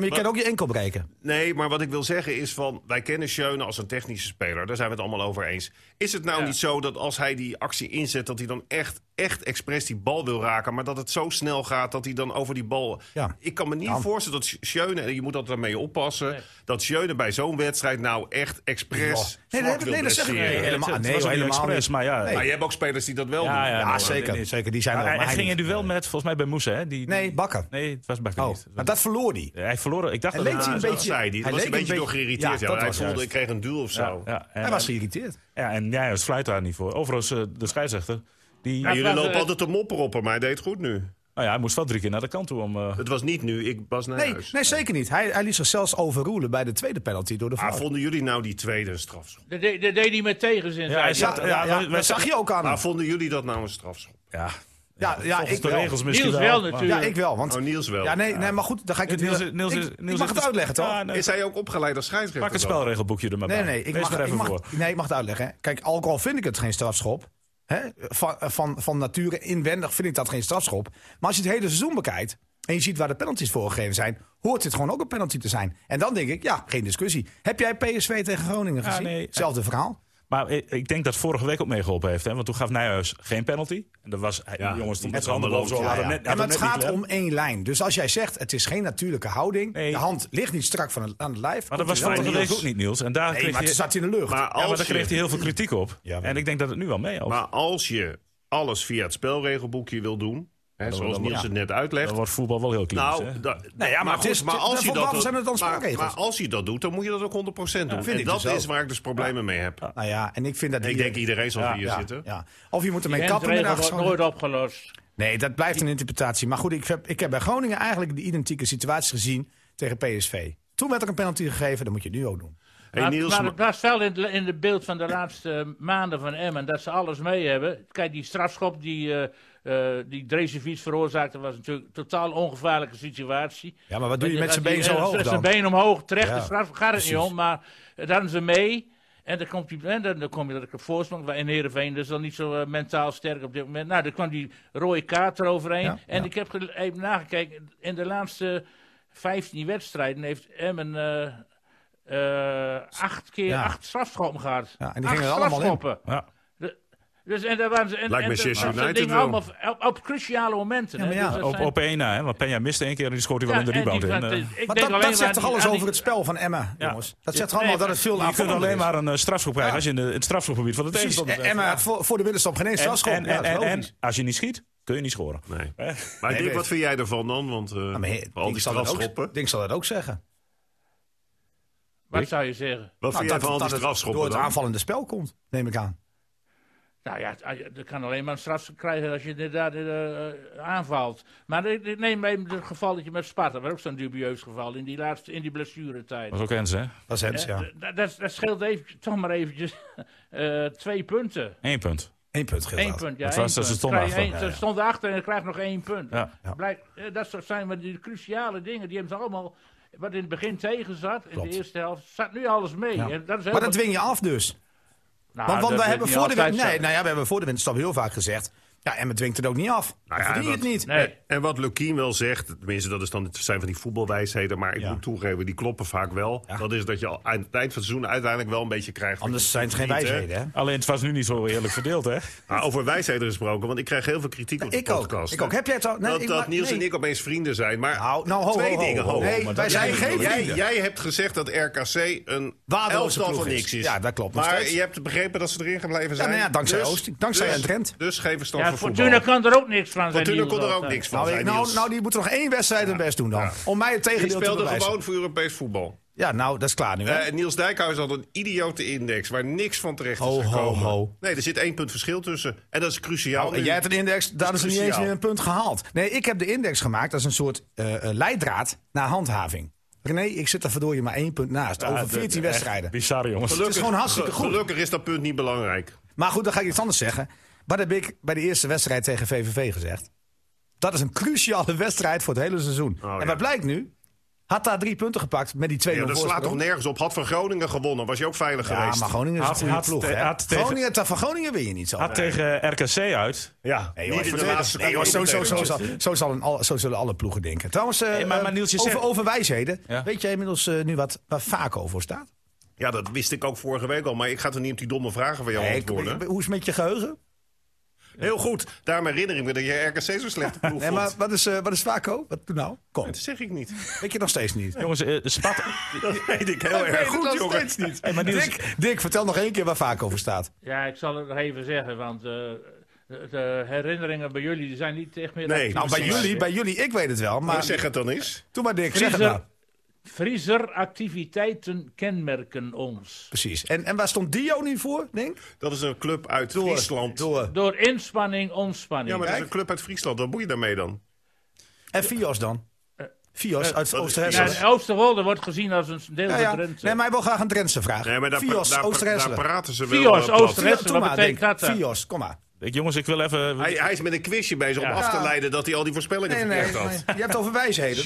D: maar je kan ook je enkel breken.
C: Nee, maar wat ik wil zeggen is van... Wij kennen Schöne als een technische speler. Daar zijn we het allemaal over eens. Is het nou
E: Ja.
C: niet zo dat als hij die actie inzet... dat hij dan echt, echt expres die bal wil raken... maar dat het zo snel gaat dat hij dan over die bal...
D: Ja.
C: Ik kan me niet
D: Kan.
C: voorstellen dat Schöne... en je moet altijd daarmee oppassen... dat Schöne bij zo'n wedstrijd nou echt expres...
D: Nee,
C: vlak
D: dat,
C: wil
D: nee, dat zeg ik
C: blesseren.
D: niet. Helemaal,
B: het
D: nee,
B: was ook niet
D: helemaal
B: expres,
D: niet.
B: maar ja.
D: Nee.
C: Maar je hebt ook spelers die dat wel
B: Ja,
C: doen.
B: ja,
D: Ja,
B: nee,
D: zeker.
B: nee, nee.
D: zeker. Die zijn er
B: Maar
D: wel.
B: hij,
D: maar
B: hij ging
D: niet.
B: in duel met, volgens mij bij Moes, hè? Die,
D: Nee, Bakker.
B: Nee, het was Bakker
D: Oh,
B: niet.
D: maar dat verloor hij.
B: Hij verloor. Ik dacht
D: Hij
B: dat
D: leek
B: het-
D: hij een
C: Dat
D: beetje-
C: zei hij.
D: hij
C: Hij was
D: leek
C: een beetje
D: een
C: door
D: beetje-
C: geïrriteerd.
D: Ja,
C: Ja,
D: dat
C: hij
D: was
C: voelde,
D: juist.
C: ik kreeg een duel of
B: Ja,
C: zo.
B: ja, en,
D: Hij was geïrriteerd.
B: ja, en jij als fluit daar niet voor. Overigens, eh, de scheidsrechter. Die,
C: Ja, jullie
E: maar-
C: lopen altijd te mopperen op hem, maar hij deed het goed nu.
B: Nou ja, hij moest wel drie keer naar de kant toe om. eh,
C: Het was niet nu, ik was naar
D: Nee,
C: huis.
D: nee, zeker niet. Hij, hij liet zich zelfs overroelen bij de tweede penalty door de
C: Ah,
D: fout.
C: vonden jullie nou die tweede een strafschop?
E: Dat deed- dat deed hij met tegenzin.
B: Ja, hij
E: zei
B: zat.
D: ja, ja,
B: Ja, wij-
D: dat
B: wij
D: zag
B: zagen.
D: je ook aan hem.
C: Ah, vonden jullie dat nou een strafschop?
B: Ja,
D: Ja, ja,
B: volgens
D: ik
B: de regels
D: wel.
B: misschien
E: Niels
B: wel.
E: wel
B: maar-
E: natuurlijk.
D: Ja, ik wel. Want,
C: Oh, Niels wel.
D: ja, nee, nee, maar goed, dan ga ik het
B: Niels,
D: hele-
B: Niels,
D: ik-
B: is-
D: ik
B: Niels
D: mag
B: is-
D: het uitleggen, toch?
B: Ja, nee,
C: Is hij ook opgeleid als scheidsrechter?
B: Pak het
C: dan?
B: spelregelboekje er maar
D: Nee,
B: bij.
D: nee, ik
B: Lees
D: mag,
B: er
D: ik,
B: even voor.
D: mag, nee, ik mag het uitleggen. hè. Kijk, alcohol vind ik het geen strafschop. Hè? Van, van, van nature inwendig vind ik dat geen strafschop. Maar als je het hele seizoen bekijkt en je ziet waar de penalties voor gegeven zijn, hoort dit gewoon ook een penalty te zijn. En dan denk ik, ja, geen discussie. Heb jij PSV tegen Groningen
B: Ja,
D: gezien?
B: nee.
D: Hetzelfde verhaal.
B: Maar ik, ik denk dat vorige week ook meegeholpen heeft. Hè? Want toen gaf Nijhuis geen penalty. En dat was, hij- die jongens, stond met z'n handen boven zo.
C: Ja,
B: hadden
C: ja.
B: net-
D: Ja, maar
B: hadden
D: het
B: net niet
D: gaat
B: gelet.
D: om één lijn. Dus als jij zegt, het is geen natuurlijke houding.
B: Nee.
D: De hand ligt niet strak van het, aan het lijf.
B: Maar dat was
D: komt hij wel
B: vorige
D: terug.
B: week ook niet, Niels. En daar
D: Nee,
B: kreeg
D: maar het
B: hij...
D: zat in de lucht.
C: Maar
B: Ja, maar
C: als,
B: daar kreeg hij
C: je,
B: heel veel kritiek op.
D: Ja, weet
B: en ik denk dat het nu wel mee
C: maar als je alles via het spelregelboekje wil doen... Hè, zoals
B: dan-
C: Niels het net uitlegt...
B: Dan wordt voetbal wel heel klinisch,
C: Nou,
B: hè?
C: da-
D: ja, maar het
C: goed,
D: is- het- voor waarom zijn het dan
C: maar-
D: spelregels?
C: maar als je dat doet, dan moet je dat ook 100% doen.
D: vind
C: en
D: ik
C: dat
D: dus ook.
C: is waar ik dus problemen mee heb.
D: Nou ja, en ik vind dat
C: Ik
D: hier-
C: denk iedereen zal hier
D: ja,
C: zitten.
D: ja. Of je moet
E: Die
D: ermee kappen met
E: grensregel wordt
D: aangeschoten-
E: nooit opgelost.
D: Nee, dat blijft een interpretatie. Maar goed, ik heb, ik heb bij Groningen eigenlijk de identieke situatie gezien tegen PSV. Toen werd er een penalty gegeven, dat moet je nu ook doen.
C: Hey,
E: maar,
C: Niels,
E: maar het was wel in, de- in het beeld van de laatste maanden van Emmen dat ze alles mee hebben. Kijk, die strafschop die eh eh, die Drezevic veroorzaakte was natuurlijk een totaal ongevaarlijke situatie.
D: Ja, maar wat doe je met zijn
E: die-
D: been zo
E: eh,
D: hoog
E: Zijn
D: dan?
E: been omhoog, terecht,
D: Ja,
E: de straf gaat het niet om. Maar eh, daar doen ze mee. En dan, komt die, en dan, dan kom je dat ik op voorsprong. En Heerenveen is dan niet zo eh, mentaal sterk op dit moment. Nou, dan kwam die rode kaart eroverheen.
D: Ja,
E: en
D: ja.
E: ik heb gel- even nagekeken. In de laatste 15 wedstrijden heeft Emmen eh, eh, acht keer
D: Ja.
E: acht strafschoppen gehad.
D: Ja, en die
E: acht
D: gingen er allemaal in.
E: strafschoppen.
B: Ja.
E: Dus, en daar waren ze, en,
C: Lijkt
E: en
C: me
E: dat
C: Sheffield
E: was dat
C: United
E: ding
C: wel.
E: allemaal v- op, op cruciale momenten.
D: Ja,
E: hè.
D: maar ja,
E: Dus dat
B: Op,
E: zijn-
B: op 1 na, hè? want Penja miste één keer en die schoot hij wel
E: ja,
B: in de
E: en
B: rebound
E: die-
B: in.
E: want,
B: eh.
E: eh, ik
D: Maar
E: denk
D: dat,
E: alleen
D: dat
E: maar
D: zegt toch
E: aan
D: alles
E: die-
D: over het spel van Emma,
B: Ja.
D: jongens? Dat zegt toch allemaal dat het veel
B: Je kunt
D: aanvallender
B: alleen
D: is?
B: maar een eh, strafschop krijgen als je in de, het strafschopgebied van de
D: Precies,
B: tegenstander bent.
D: Emma had voor, voor de winterstop geen eens
B: En,
D: strafschop.
B: en,
D: Ja,
B: en,
D: dat is
B: en,
D: logisch.
B: en als je niet schiet, kun je niet scoren.
C: Nee. Maar Dick,
D: weet-
C: wat vind jij ervan dan? Want eh,
D: Ja, Ah, maar he-
C: al die
D: Dink zal dat ook-
C: strafschoppen.
D: Dink zal dat ook zeggen.
E: Wat zou je zeggen?
C: Wat
D: Nou,
C: vind jij van al die
D: het door
C: strafschoppen
D: het
C: dan?
D: aanvallende spel komt, neem ik aan.
E: Nou ja, het- je kan alleen maar een straf krijgen als je inderdaad eh, eh, aanvalt. Maar ik- ik neem even het geval dat je met Sparta, was ook zo'n dubieus geval in die, laatste, in die blessuretijd.
B: Dat is ook Hens, hè?
D: Dat is Hens,
E: Eh,
D: ja.
E: d- dat- Dat dat scheelt even, toch maar eventjes eh, twee punten.
B: Eén punt.
D: Eén punt geldt.
E: Eén
D: dat.
E: punt, ja.
B: Het
E: eh,
B: was
E: één
B: dat ze
E: punt.
B: stonden
E: Krijg je
B: achter.
E: één- Ze stonden achter en je krijgt nog één punt.
B: Ja.
D: Ja.
E: Blijk- eh, dat soort zijn maar die cruciale dingen. Die hebben ze allemaal, wat in het begin tegen zat, in
D: Klopt.
E: de eerste helft, zat nu alles mee.
D: Ja.
E: En Dat is
D: Maar
E: heel
D: dat
E: wat-
D: dwing je af
C: Ah,
D: dus.
E: Nou,
D: Want, want we,
E: dat is
D: hebben
E: niet
D: voor de, win-
E: altijd zo.
D: nee, nou ja, we hebben voor de winterstop heel vaak gezegd... Ja, Emma dwingt het ook niet af. Dan
C: Nou ja,
D: verdien je
C: dat-
D: het niet.
E: Nee.
C: En wat Lukien wel zegt, tenminste dat is dan, het zijn van die voetbalwijsheden, maar ik
D: Ja.
C: moet toegeven, die kloppen vaak wel.
D: Ja.
C: Dat is dat je al aan het eind van het seizoen uiteindelijk wel een beetje krijgt. wat
D: Anders
C: je
D: zijn het geen
C: verdient, hè.
D: wijsheden, hè?
B: Alleen het was nu niet zo eerlijk verdeeld, hè?
C: Maar over wijsheden gesproken, want ik krijg heel veel kritiek op de
D: Ik ook.
C: podcast.
D: Ik ook. Heb jij het al? Nee,
C: dat
D: ik
C: dat
D: maak-
C: Niels
D: nee.
C: en ik opeens vrienden zijn, maar
D: Nou, nou, ho,
C: twee
D: ho, ho,
C: dingen.
D: ho,
C: ho.
D: Nee,
C: Maar
D: wij
C: dat-
D: zijn
C: jij-
D: geen
C: jij,
D: vrienden.
C: jij hebt gezegd dat RKC een
D: Waardeloze
C: elftal
D: ploeg
C: van
D: is.
C: niks is.
D: Ja, dat klopt nog
C: Maar
D: steeds.
C: je hebt begrepen dat ze erin gebleven zijn.
D: nou ja, dankzij
C: dus,
D: Oost- dankzij
C: dus,
D: en Drent.
C: Dus geen verstand
E: Ja,
C: van voetbal.
E: Fortuna kan er ook niks van. zei
C: Fortuna
E: Niels
C: kon er ook
E: altijd.
C: niks van.
D: Nou,
C: zijn,
D: ik- nou,
C: Niels.
D: nou, die moeten nog één wedstrijd hun best doen dan. Om mij het
C: Die
D: tegendeel te
C: speelden
D: bewijzen.
C: gewoon voor Europees voetbal.
D: Ja, nou, dat is klaar nu, hè?
C: Eh, Niels Dijkhuis had een idiote index waar niks van terecht
D: Ho,
C: is
D: ho,
C: gekomen.
D: ho.
C: Nee, er zit één punt verschil tussen. En dat is cruciaal.
D: Oh, en
C: nu.
D: jij hebt een index, daar is er niet eens
C: cruciaal.
D: meer een punt gehaald. Nee, ik heb de index gemaakt als een soort eh, eh, leidraad naar handhaving. René, ik zit er verdorie maar één punt naast.
B: Ah,
D: over 14 wedstrijden. Dus
B: Bizar, jongens.
D: Het is gewoon hartstikke
C: ge-
D: goed.
C: Gelukkig is dat punt niet belangrijk.
D: Maar goed, dan ga ik iets anders zeggen. Wat heb ik bij de eerste wedstrijd tegen VVV gezegd? Dat is een cruciale wedstrijd voor het hele seizoen.
C: Oh, ja.
D: En wat blijkt nu? Had daar drie punten gepakt met die twee
C: Ja, dat slaat toch nergens op. Had van Groningen gewonnen, was je ook veilig
D: Ja,
C: geweest.
D: maar Groningen is
B: Had-
D: een goede
B: had-
D: ploeg. hè?
B: had tegen-
D: Groningen, ta- van Groningen win je niet zo.
B: Had tegen eh, RKC uit.
C: Ja, niet
D: Nee, jongens,
C: in de
D: vertel-
C: laatste
D: nee, jongens, zo, zo, zo,
C: seconde.
D: zo, zo, zal een al- zo zullen alle ploegen denken. Trouwens, eh,
B: Hey, maar- maar Niels, je
D: over,
B: zegt-
D: over wijsheden.
B: Ja.
D: Weet jij inmiddels eh, nu wat, waar Vaco voor staat?
C: Ja, dat wist ik ook vorige week al. Maar ik ga er niet op die domme vragen van jou
D: Nee, ik-
C: antwoorden.
D: hoe is het met je geheugen?
C: Heel goed. Daarom herinner ik me dat je RKC zo slecht ploeg
D: Nee,
C: vond.
D: maar wat is, eh, wat is Vaco? Wat doe nou? Kom,
C: Dat zeg ik niet.
D: weet je nog steeds niet.
B: Jongens, eh, Sparta...
C: Dat weet ik heel
D: weet
C: erg
D: het
C: goed,
D: nog
C: jongen.
D: steeds niet.
B: Hey, maar Niels,
D: Dick, Dick, vertel nog één keer waar Vaco voor staat.
E: Ja, ik zal het nog even zeggen, want eh, de, de herinneringen bij jullie die zijn niet echt meer...
C: Nee,
E: actief.
D: Nou, bij
C: Precies.
D: jullie, bij jullie, ik weet het wel.
C: Maar
D: Maar
C: zeg het dan eens.
D: doe maar Dick, zeg het
E: Vriezer-
D: maar.
E: Vriezer activiteiten kenmerken ons.
D: Precies. En, en waar stond Dio nu voor, Denk?
C: Dat is een club uit Friesland.
D: Door.
E: Door inspanning, ontspanning.
C: Ja, maar dat is
D: Kijk.
C: een club uit Friesland. Wat moet je daarmee dan?
D: En Fios dan? Fios uit
C: dat is
E: Ja,
D: Oosterhesselen.
E: en Oosterwolde wordt gezien als een deel
D: Ja,
E: van
D: ja.
E: Drenthe.
D: Nee, maar hij wil graag een Drentse vraag.
C: Nee, maar daar,
D: Fios,
C: daar, daar, daar
D: Oosterhesselen.
C: praten ze wel.
E: Fios,
C: eh, plat.
E: Oosterhesselen.
D: Fios,
E: Wat betekent
D: Denk.
E: dat dan?
D: Fios, kom maar.
B: ik- jongens, ik wil even...
C: Hij, hij is met een quizje bezig om
E: Ja.
C: af te
D: Ja.
C: leiden dat hij al die voorspellingen
D: Nee, nee,
C: verkeerd
D: nee.
C: had.
D: Je hebt het over wijsheden.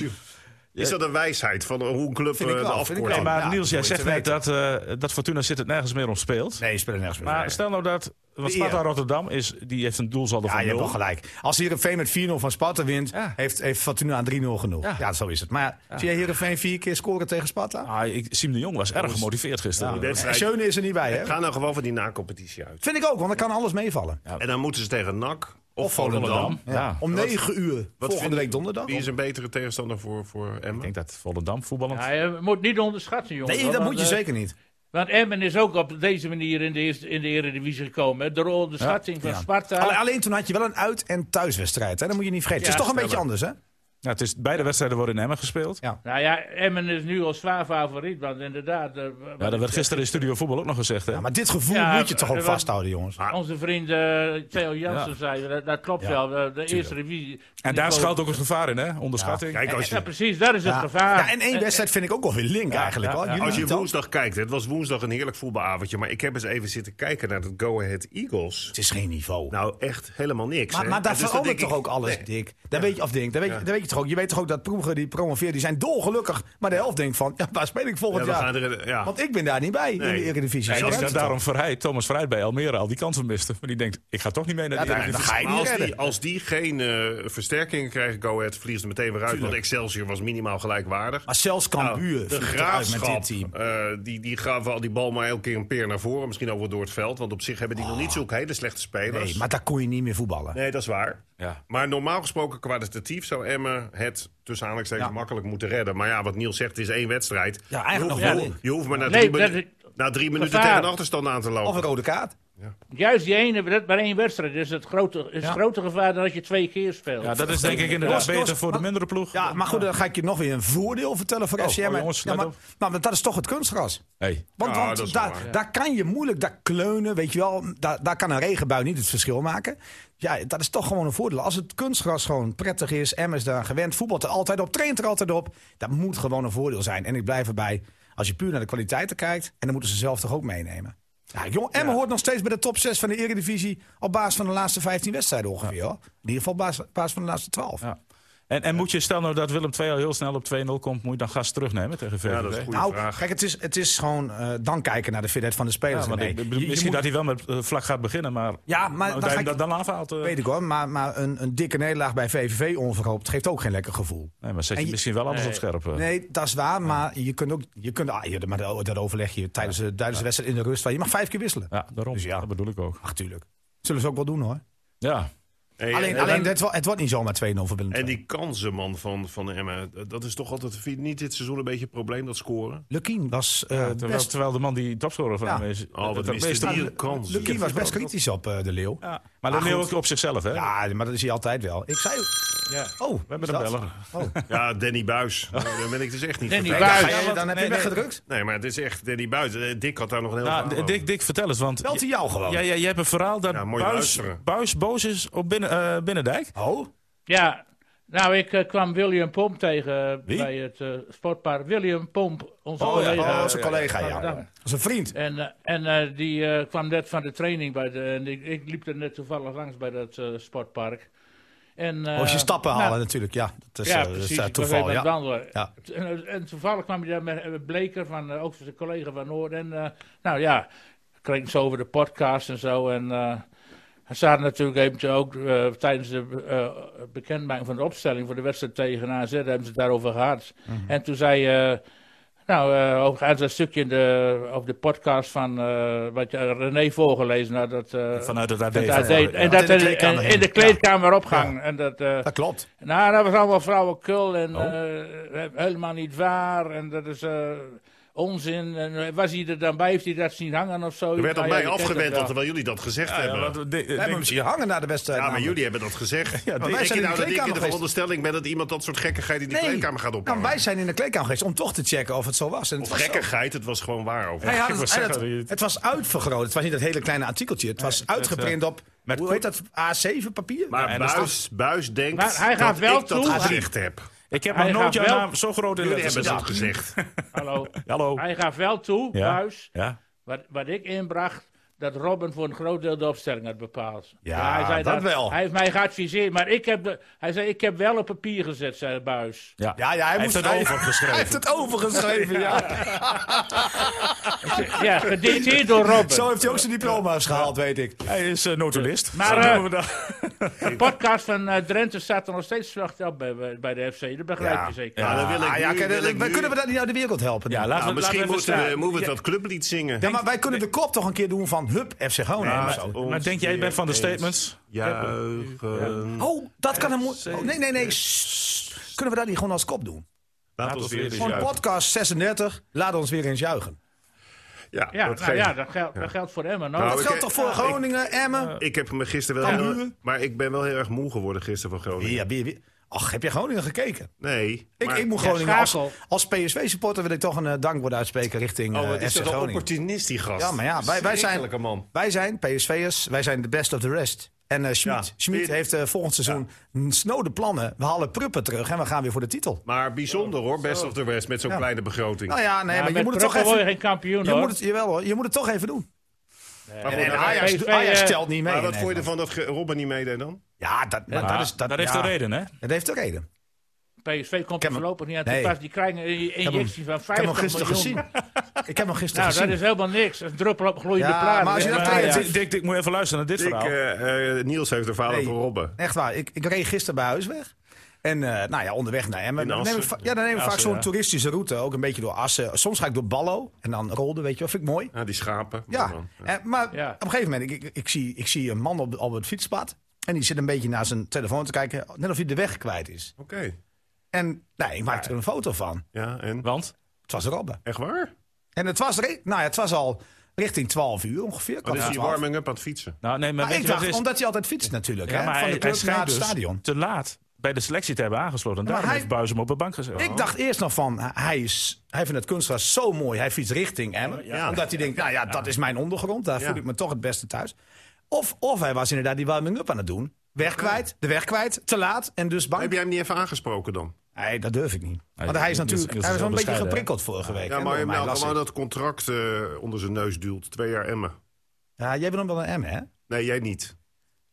C: Is dat een wijsheid van hoe een club
D: Vind ik
C: eh, de
D: wel, vind ik
C: afkorting...
D: wel.
B: Hey, maar
D: Ja,
B: Niels, jij
D: goed
B: zegt
D: te
B: net dat, eh, dat Fortuna zit het nergens meer om speelt.
D: Nee, je speelt er nergens meer.
B: Maar
D: Nee.
B: stel nou dat... Want
D: De
B: Sparta
D: eer.
B: Rotterdam is, die heeft een doelsaldo
D: Ja,
B: van
D: je hebt wel
B: nul.
D: gelijk. Als Heerenveen met 4-0 van Sparta wint,
B: Ja.
D: heeft, heeft Fortuna aan 3-0 genoeg. Ja.
B: Ja.
D: zo is het. Maar zie je Heerenveen vier keer scoren tegen Sparta?
B: Ah, ik, Siem de Jong was erg gemotiveerd gisteren.
C: Ja.
D: En Schöne is er niet bij, hè?
C: Ga nou gewoon van die na-competitie uit.
D: Vind ik ook, want dan kan alles meevallen.
C: En dan moeten ze tegen NAC of
B: Volendam.
C: Volendam.
B: Ja.
D: Ja. Om 9 uur, volgende
C: vind-
D: week donderdag.
C: Wie is een betere tegenstander voor, voor
B: Ik
C: Emmen?
B: denk dat Volendam voetballend...
E: Ja, je moet niet onderschatten, jongen.
D: Nee, dat
E: want,
D: moet je
E: eh,
D: zeker niet.
E: Want Emmen is ook op deze manier in de, eerste, in de Eredivisie gekomen. hè. Door onderschatting van
D: Ja.
E: Sparta.
D: Alle- Alleen toen had je wel een uit- en thuiswedstrijd. Hè? Dat moet je niet vergeten.
E: Ja,
D: het is toch een
E: stemmen.
D: beetje anders, hè?
B: Nou, het is, beide wedstrijden worden in Emmen gespeeld.
E: Nou ja, Emmen is nu al zwaar favoriet, want inderdaad... eh, w-
B: Ja, dat werd gisteren in Studio Voetbal ook nog gezegd, hè?
D: Ja, maar dit gevoel
E: Ja,
D: moet je toch ook
E: eh,
D: vasthouden, jongens.
E: Onze vriend eh, Theo Jansen zei, dat, dat klopt
D: Ah. Ja,
E: wel, de, de eerste revisie.
B: en daar schuilt ook het gevaar in, hè? Onderschatting.
C: Kijk, als
E: Ja,
C: je,
E: precies, daar is het
D: Ja.
E: gevaar. Eh,
D: Ja, en één wedstrijd vind ik ook wel weer link eigenlijk. hoor. Jullie
C: als je
D: niet ook?
C: woensdag kijkt, het was woensdag een heerlijk voetbalavondje. Maar ik heb eens even zitten kijken naar dat Go Ahead Eagles.
D: Het is geen niveau.
C: Nou, echt helemaal niks.
D: Maar,
C: hè?
D: maar daar
C: Dus dat
D: verandert
C: denk
D: toch
C: ik-
D: ook alles,
C: Nee.
D: Dick? Daar weet je, of Dink, daar weet, je- daar weet je toch ook. Je weet toch ook dat ploegen die promoveert, die zijn dolgelukkig. Maar de helft denkt van, ja, waar speel ik
C: Ja,
D: volgend
C: we gaan
D: jaar?
C: er, ja.
D: Want ik ben daar niet bij in
C: Nee. dus
D: de Eredivisie.
B: En
D: Zo
B: dat is
D: werkt het
B: daarom verheid Thomas Verheid bij Almere al die kansen miste. Maar die denkt, ik ga toch niet mee naar de
D: dan-
B: Eredivisie.
D: dan ga je
C: Maar Dus als
D: niet
C: die,
D: redden.
C: als die geen eh, versterkingen krijgen, Go Ahead vliegt er meteen weer uit. Want Excelsior was minimaal gelijkwaardig.
D: Maar zelfs Cambuur
C: Nou, de
D: vliegt eruit met
C: graafschap,
D: dit team.
C: eh, die, die gaven al die bal maar elke keer een peer naar voren. Misschien ook wel door het veld. Want op zich hebben die nog niet zulke hele slechte spelers.
D: Oh. Nee, maar daar kon je niet meer voetballen.
C: Nee, dat is waar.
B: Ja.
C: Maar normaal gesproken, kwalitatief zou Emmen het tussen aanhalingstekens
D: Ja.
C: makkelijk moeten redden. Maar ja, wat Niels zegt, het is één wedstrijd.
D: Ja, eigenlijk
C: je,
D: nog
C: hoeft,
D: wel.
C: je hoeft maar na
E: Nee,
C: drie,
E: dat
C: minu-
E: is-
C: na drie minuten
E: Gevaar.
C: tegen een achterstand aan te
D: Of een
C: lopen.
D: rode kaart.
E: Juist die ene, dat bij één wedstrijd is het grote, is
D: Ja.
E: het grote gevaar dan dat je twee keer speelt.
B: Ja, dat is denk ik
D: Los,
B: inderdaad
D: los,
B: beter voor de
D: maar-
B: mindere ploeg.
D: Ja, maar goed, dan ga ik je nog weer een voordeel vertellen voor
B: Oh,
D: FCM.
B: oh, jongens,
D: ja,
B: let
D: maar,
B: op.
D: maar, want dat is toch het kunstgras.
B: Hey.
D: Want,
C: Ja,
D: want
C: dat is wel
D: daar,
C: waar.
D: daar kan je moeilijk, daar kleunen, weet je wel. Daar, daar kan een regenbui niet het verschil maken. Ja, dat is toch gewoon een voordeel. Als het kunstgras gewoon prettig is, M is daar gewend, voetbalt er altijd op, traint er altijd op. Dat moet gewoon een voordeel zijn. En ik blijf erbij, als je puur naar de kwaliteiten kijkt, en dan moeten ze zelf toch ook meenemen. Ja, jong, Emmen hoort nog steeds bij de top 6 van de Eredivisie op basis van de laatste 15 wedstrijden ongeveer. Hoor. In ieder geval op basis, op basis van de laatste 12.
B: Ja. En, en moet je, stel nou dat Willem II al heel snel op 2-0 komt, moet je dan gas terugnemen tegen VVV?
C: Ja, dat is een goede
D: Nou,
C: vraag.
D: kijk, het is, het is gewoon eh, dan kijken naar de fitheid van de spelers.
B: Ja, maar
D: René.
B: ik- ik bedoel,
D: Je- je
B: misschien
D: moet-
B: dat hij wel met eh, vlak gaat beginnen, maar,
D: Ja, maar
B: nou,
D: dan
B: dat
D: ga
B: hij
D: ik-
B: hem dat dan afhaalt. eh,
D: Weet ik hoor, maar, maar een, een dikke nederlaag bij VVV onverhoopt geeft ook geen lekker gevoel.
B: nee, maar zet
D: En
B: je
D: je-
B: misschien wel alles
E: Nee.
B: op scherp. eh.
D: Nee, dat is waar, maar je kunt ook. Je kunt, ah, ja, maar dat dat overleg je tijdens, de- tijdens de wedstrijd in de rust. want Je mag vijf keer wisselen.
B: Ja, daarom.
D: Dus ja.
B: Dat bedoel ik ook.
D: Ach, tuurlijk. Zullen ze ook wel doen hoor.
B: Ja,
C: Hey,
D: alleen
C: en-
D: alleen het, wo- het wordt niet zomaar 2-0 voor Willem
C: En
D: II.
C: die kansenman van, van Emmen, dat is toch altijd vind je niet dit seizoen een beetje een probleem, dat scoren?
D: Lukien was, eh,
B: terwijl,
D: best,
B: terwijl de man die topscorer van
D: Ja.
B: hem is...
C: Oh, wat
B: dat
C: miste
B: meeste-
C: die een kans.
D: Lukien was best kritisch op eh, de Leeuw.
B: Ja. Maar dat
D: Maar
B: neemt
D: goed.
B: ook op zichzelf, hè?
D: Ja, maar dat is hij altijd wel. Ik zei.
B: Ja.
D: Oh,
B: We hebben
D: is
B: een
D: dat?
B: beller.
D: Oh.
C: Ja, Danny Buis. Daar ben ik dus echt niet
E: Danny
C: van.
E: Buijs.
D: Ga
E: Ja,
D: je-
B: want-
D: dan heb je
B: nee, nee.
D: weggedrukt.
C: Nee, maar het is echt Danny Buis. Eh, Dick had daar nog een heel verhaal
B: Nou,
C: over.
B: Dick, Dick, vertel eens, want...
D: Belt hij jou gewoon?
B: Ja, ja, je hebt een verhaal dat
C: Ja, moet je
B: Buis,
C: luisteren.
B: Buis boos is op binnen, eh, Binnendijk.
D: Oh,
E: Ja, nou, ik eh, kwam William Pomp tegen eh,
B: Wie?
E: bij het eh, sportpark. William Pomp, onze
B: Oh, ja.
E: collega.
D: oh,
E: uit
D: zijn collega,
E: Rotterdam.
D: ja. Zijn vriend.
E: En, eh, en eh, die eh, kwam net van de training bij de. En ik, ik liep er net toevallig langs bij dat eh, sportpark. En, eh,
D: Oh, Als je stappen
E: nou,
D: halen, natuurlijk. Ja, dat is,
E: ja,
D: eh, dat is,
E: precies.
D: eh,
E: ik was
D: toeval.
E: even
D: Ja.
E: aan het wandelen.
D: Ja.
E: En, eh, en toevallig kwam je daar met eh, Bleker, van, eh, ook zijn collega van Noord. En eh, nou ja, kreeg ze over de podcast en zo. En eh ze hadden natuurlijk eventjes ook eh, tijdens de eh, bekendmaking van de opstelling voor de wedstrijd tegen AZ, hebben ze het daarover gehad.
D: Mhm.
E: En toen zei... eh, nou, eh ook uit dat stukje in de, op de podcast van eh, wat je- René voorgelezen had. Dat, eh,
B: Vanuit het AD.
E: dat hij deed.
D: ja.
E: En dat
D: In de
E: er-
D: kleedkamer
E: en in de
D: heen.
E: kleedkamer opgang. En dat, eh,
D: Dat klopt.
E: nou, dat was allemaal vrouwenkul en eh, he- helemaal niet waar. En dat is eh, onzin. En eh, was hij er dan bij? Heeft hij dat zien hangen of zo?
C: Er werd op
E: Nou ja,
C: mij
E: je kent
C: afgewendeld
E: het wel.
C: terwijl jullie dat gezegd
B: Ah, Ja,
C: hebben.
B: want Dick- Dick-
D: We hebben hem zien hangen naar de wedstrijd.
C: Ja, maar
D: namelijk.
C: jullie hebben dat gezegd. Ja,
D: wij
C: denk
D: zijn
C: je
D: in
C: nou dat ik
D: de
C: in de
D: kleedkamer geweest.
C: veronderstelling ben dat iemand dat soort gekkigheid in die kleedkamer gaat
D: Nou,
C: ophangen?
D: wij zijn in de kleedkamer geweest om toch te checken of het zo was. En het
C: Of
D: was zo.
C: gekkigheid, het was gewoon waar over.
D: Hij had
B: Ik
D: het,
B: wou
D: hij
B: zeggen,
D: had-
B: die-
D: het was uitvergroot. Het was niet dat hele kleine artikeltje. Het was uitgeprint op,
B: eh, met
D: hoe heet dat, A7 papier?
C: Maar
B: Ja, en dat is
C: Buis, Buis denkt
E: Maar hij
C: dat
E: gaat wel
C: ik dat
E: toe.
C: gezegd heb.
B: Ik heb
E: Hij
B: nog nooit
E: gaat
B: jouw
E: wel-
B: naam zo groot in
C: Jullie
B: letters
C: hebben dat
B: gezien.
C: gezegd.
E: Hallo.
B: Hallo.
E: Hij gaf wel toe,
B: Ja.
E: Buis,
B: Ja.
E: wat, wat ik inbracht, dat Robin voor een groot deel de opstelling had bepaald.
D: Ja,
E: hij
D: dat wel.
E: Hij heeft mij geadviseerd, maar ik heb, de- hij zei, ik heb wel op papier gezet, zei Buis.
B: Ja.
D: ja, ja, hij,
B: heeft
D: moest,
B: het
D: hij-
B: overgeschreven.
D: Hij heeft het overgeschreven, ja.
E: Ja, gedicteerd door Robin.
D: Zo heeft hij ook zijn diploma's gehaald, weet ik.
B: Hij is eh, notulist.
E: Maar,
B: Zo
E: eh,
B: noemen we dat.
E: De podcast van eh, Drenthe staat er nog steeds slecht op bij, bij- bij de FC, dat begrijp je zeker.
C: Ja, dan wil ik
D: Ah, ja,
C: nu-
D: kijk,
C: wil ik
D: dan
C: nu-
D: kunnen we dat niet naar de wereld helpen.
B: ja,
D: Ja,
B: laten
C: Nou,
B: we,
C: misschien
B: laten we even
C: moeten we,
B: staan.
C: moeten we dat clublied zingen.
D: maar wij kunnen de kop toch een keer doen van hup, FC Groningen. of zo.
B: Maar denk jij bent van de statements?
C: Juichen.
D: Oh, dat kan een moe- oh, Nee, nee, nee. Sst. Kunnen we dat niet gewoon als kop doen?
C: Laat ons weer eens
D: Gewoon
C: juichen.
D: podcast 36, laat ons weer eens
C: Nou,
D: juichen.
C: Ja,
E: Ja,
C: dat
E: nou
C: geeft.
E: ja, dat geldt, dat geldt voor Emmen ook.
C: Nou,
D: Dat
C: ik-
D: geldt toch voor
C: ja, ik-
D: Groningen, Emmen?
C: Ik heb me gisteren wel...
D: Cambuur?
C: heel- Maar ik ben wel heel erg moe geworden gisteren van Groningen.
D: Ja, wie, wie- Ach, heb je Groningen gekeken?
C: Nee.
D: Ik,
C: maar-
D: ik moet
E: Ja,
D: Groningen als,
E: schakel.
D: als PSV-supporter wil ik toch een eh, dankwoord uitspreken richting
C: Oh, wat
D: eh,
C: is
D: FC
C: dat een
D: Groningen.
C: opportunist, die gast.
D: Ja, maar ja, wij- wij zijn-
C: Verschrikkelijke man.
D: Wij zijn PSV'ers, wij zijn de best of the rest. En eh Schmid,
C: Ja.
D: Schmid heeft eh, volgend seizoen snode plannen. We halen Pruppen terug en we gaan weer voor de titel.
C: Maar bijzonder hoor, best of the rest, met zo'n kleine begroting.
D: Nou ja, nee,
E: Ja,
D: maar je
E: met
D: moet het toch
E: Brugge word je
D: even...
E: geen kampioen
D: Je
E: hoor.
D: moet het, jawel hoor, je moet het toch even doen.
C: maar goed,
D: En
C: maar-
D: Ajax,
E: PSV,
D: Ajax
E: eh,
D: telt niet mee.
C: maar wat
D: Nee,
C: vond je
D: nee.
C: ervan dat ge- Robben niet meedeed dan?
D: Ja, dat, maar dat is... Dat,
B: Dat heeft
D: ja,
B: een reden, hè?
D: Dat heeft een reden.
E: PSV komt
D: heb
E: er
D: hem-
E: voorlopig niet aan
D: Nee.
E: te pas. Die krijgen een
D: heb hem-
E: injectie van
D: Ik heb hem
E: 50
D: gisteren
E: miljoen.
D: gezien. Ik heb hem gisteren
E: Nou, dat
D: gezien.
E: is helemaal niks. Dat is een druppel op een gloeiende
D: Ja,
E: plaat.
D: maar als je dat
E: Ja,
D: tegen-
E: ja.
B: Dick, Dick, Dick, moet even luisteren naar dit
C: Ik,
B: verhaal.
C: eh, eh, Niels heeft er verhaal
D: Nee.
C: over Robben.
D: Echt waar. Ik, ik reed gisteren bij huis weg. En eh, nou ja, onderweg naar Emmen.
C: In
D: Dan neem ik,
C: Assen.
D: va- ja, dan neem ik
B: Assen,
D: vaak zo'n
B: ja.
D: toeristische route. Ook een beetje door Assen. Soms ga ik door Ballo. En dan Rolde, weet je wel. Vind ik mooi.
C: Ah, die schapen.
D: Ja.
C: Man.
D: Eh, maar
E: Ja.
D: op een gegeven moment, ik, ik, ik zie, ik zie een man op, op het fietspad. En die zit een beetje naar zijn telefoon te kijken. Net of hij de weg kwijt is.
C: Oké.
D: En nee, ik maakte er een foto van.
C: Ja, en?
B: Want?
D: Het was Robben.
C: Echt waar?
D: En het was, re- nou ja, het was al richting 12 uur ongeveer.
C: Wat
D: kwart
C: is
D: voor
C: Oh, dus die
D: 12.
C: warming-up aan het fietsen?
B: Nou, nee, maar
D: Maar
B: weet
D: ik
B: je wat het
D: dacht,
B: is?
D: omdat hij altijd fietst natuurlijk.
B: Ja,
D: hè,
B: maar
D: van de
B: hij, hij
D: club naar
B: schijnt
D: het
B: dus
D: stadion.
B: te laat bij de selectie te hebben aangesloten. En
D: maar
B: daarom
D: hij-
B: heeft Buis hem op de bank
C: Oh.
B: gezet. Oh.
D: Ik dacht eerst nog van, hij, is, hij vindt het kunstgras zo mooi. Hij fietst richting Emmen.
C: Oh, Ja.
D: Omdat hij denkt, nou ja, dat is mijn ondergrond. Daar
C: Ja.
D: voel ik me toch het beste thuis. Of, of hij was inderdaad die warming-up aan het doen. Weg kwijt, de weg kwijt, te laat en dus bang.
C: Heb jij hem niet even aangesproken dan?
D: Nee, dat durf ik niet. Want
B: dat is-
D: hij is
B: dat is-
D: natuurlijk
B: dat is
D: hij was wel
B: heel
D: een beetje
B: bescheiden,
D: geprikkeld vorige week.
C: Ja,
D: hè,
C: maar
D: door
C: hij
D: mijn
C: nou,
D: lassie.
C: gewoon dat contract eh, onder zijn neus duwt. Twee jaar Emmen.
D: Ja, jij bent hem wel een Emmen, hè?
C: Nee, jij niet.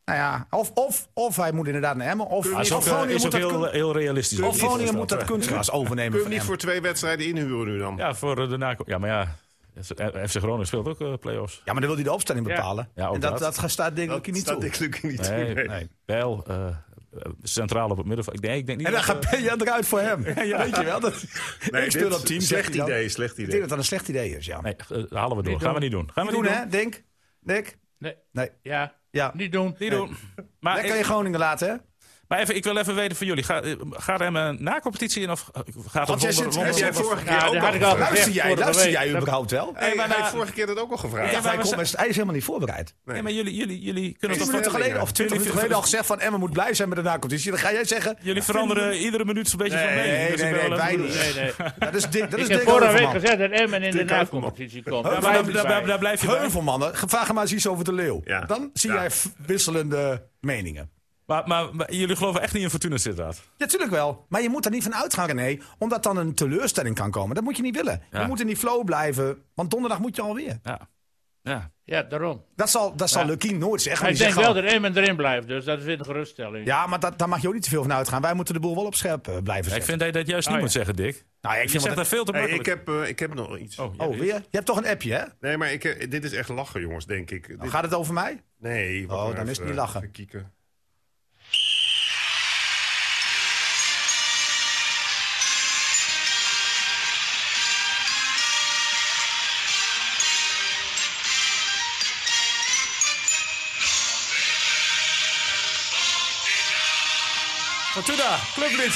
D: Nou ja, of, of, of hij moet inderdaad naar Emmen. Of,
C: Kun je
B: Hij is
D: of
B: ook, eh,
D: Groningen
B: is
D: moet
B: ook
D: dat
B: heel,
D: kun-
B: heel realistisch.
D: of Groningen moet dat kunstgras
C: Kun je
D: overnemen van
C: hem niet
D: Emmen.
C: voor twee wedstrijden inhuren nu dan?
B: Ja, voor eh, de nako- Ja, maar ja, FC Groningen speelt ook eh, play-offs.
D: Ja, maar dan wil hij de opstelling
E: Ja.
D: bepalen.
B: Ja, ook
D: en dat,
B: dat.
D: dat staat denk
C: Dat
D: ik niet
C: staat
D: toe.
C: Dick Lukien niet toe,
B: Nee,
C: nee.
B: nee. Bijl, eh, eh, centraal op het middenveld. Nee, ik denk niet
D: En dan
B: dat,
D: gaat
B: eh,
D: Peña eruit voor hem. Weet je wel? Dat,
C: Nee,
D: ik speel
C: dit-
D: dat team. zegt
C: Slecht
D: hij dan.
C: idee, slecht
D: Ik denk
C: idee.
D: dat dat een slecht idee is, ja.
B: Nee, eh, halen we door. Gaan we niet doen. Gaan we
D: Niet doen, hè? Denk. Denk.
E: Nee,
D: Nee.
E: ja,
D: Ja.
E: niet doen.
B: Niet doen. Maar,
D: Lekker in
B: ik,
D: Groningen laten, hè?
B: maar even, ik wil even weten van jullie. Ga- eh, Gaat hem een na-competitie in of eh, gaat
D: Want jij
B: het
D: zit-
B: wonder,
D: heb
B: wonder,
C: Heb jij
B: wonder-
C: vorige
E: Ja,
C: keer ook
E: daar
C: al
E: had ik al
C: gevraagd?
E: gezegd.
D: Luister jij,
E: vorige
D: luister
E: week,
D: jij
E: dat-
D: überhaupt wel? Ja,
C: Hey,
B: Nee, maar
C: hij heeft
D: nou-
B: na-
C: vorige keer dat ook al
B: Ja,
C: gevraagd.
D: maar hij,
B: maar
D: komt
B: we
D: met- hij is helemaal niet voorbereid.
B: Nee, maar jullie, jullie, jullie kunnen
D: Tien
B: toch
D: minuten
B: wat...
D: geleden, of twintig minuten geleden al gezegd van Emma moet blij zijn met de nacompetitie. Dan ga jij zeggen...
B: Jullie veranderen iedere minuut zo'n beetje van
D: Nee,
B: mening.
D: nee,
B: Dus ik
D: nee,
B: ben wel
D: wij
B: even-
D: niet.
E: Nee, nee.
D: Dat is dik, dat is
E: Ik heb
D: dik
E: vorige week
D: Heuvelman.
E: gezegd dat Emmen in de
C: Dick Heuvelman.
E: na-competitie komt.
B: Ja,
E: Daar
B: maar
E: blijf
B: daar,
E: ik
B: daar- daar-
E: bij.
B: daar blijf je bij.
D: Heuvelmannen, vraag hem maar eens iets over de leeuw.
C: Ja.
D: Dan zie
C: Ja.
D: jij f- wisselende meningen.
B: Maar, maar, maar jullie geloven echt niet in Fortuna Sittard?
D: Ja, tuurlijk wel. Maar je moet er niet van uitgaan, René. Omdat dan een teleurstelling kan komen. Dat moet je niet willen.
B: Ja.
D: Je moet in die flow blijven. Want donderdag moet je alweer.
B: Ja. ja.
E: Ja, daarom.
D: Dat zal, dat zal Lukien nooit zeggen.
E: Maar ik
D: Die
E: denk
D: zegt
E: wel
D: gewoon,
E: dat Emmen erin blijft, dus dat is weer een geruststelling.
D: Ja, maar dat, daar mag je ook niet te veel van uitgaan. Wij moeten de boel wel op scherp eh, blijven
B: Ik
D: zetten.
B: vind dat je dat juist niet
E: ja.
B: moet zeggen, Dick.
D: nou, Oh, ja, ik
B: Je
D: vind
B: zegt
D: wat
B: dat veel te
C: Hey, ik,
B: makkelijk.
C: heb, eh, ik heb nog iets.
B: Oh, ja,
D: Oh, weer? Je hebt toch een appje, hè?
C: Nee, maar ik, eh, dit is echt lachen, jongens, denk ik. Dit-
D: Nou, gaat het over mij?
C: Nee. wacht
D: Oh,
C: maar
D: dan is
C: even,
D: het niet lachen.
C: even kieken.
B: Fortuna, clublid.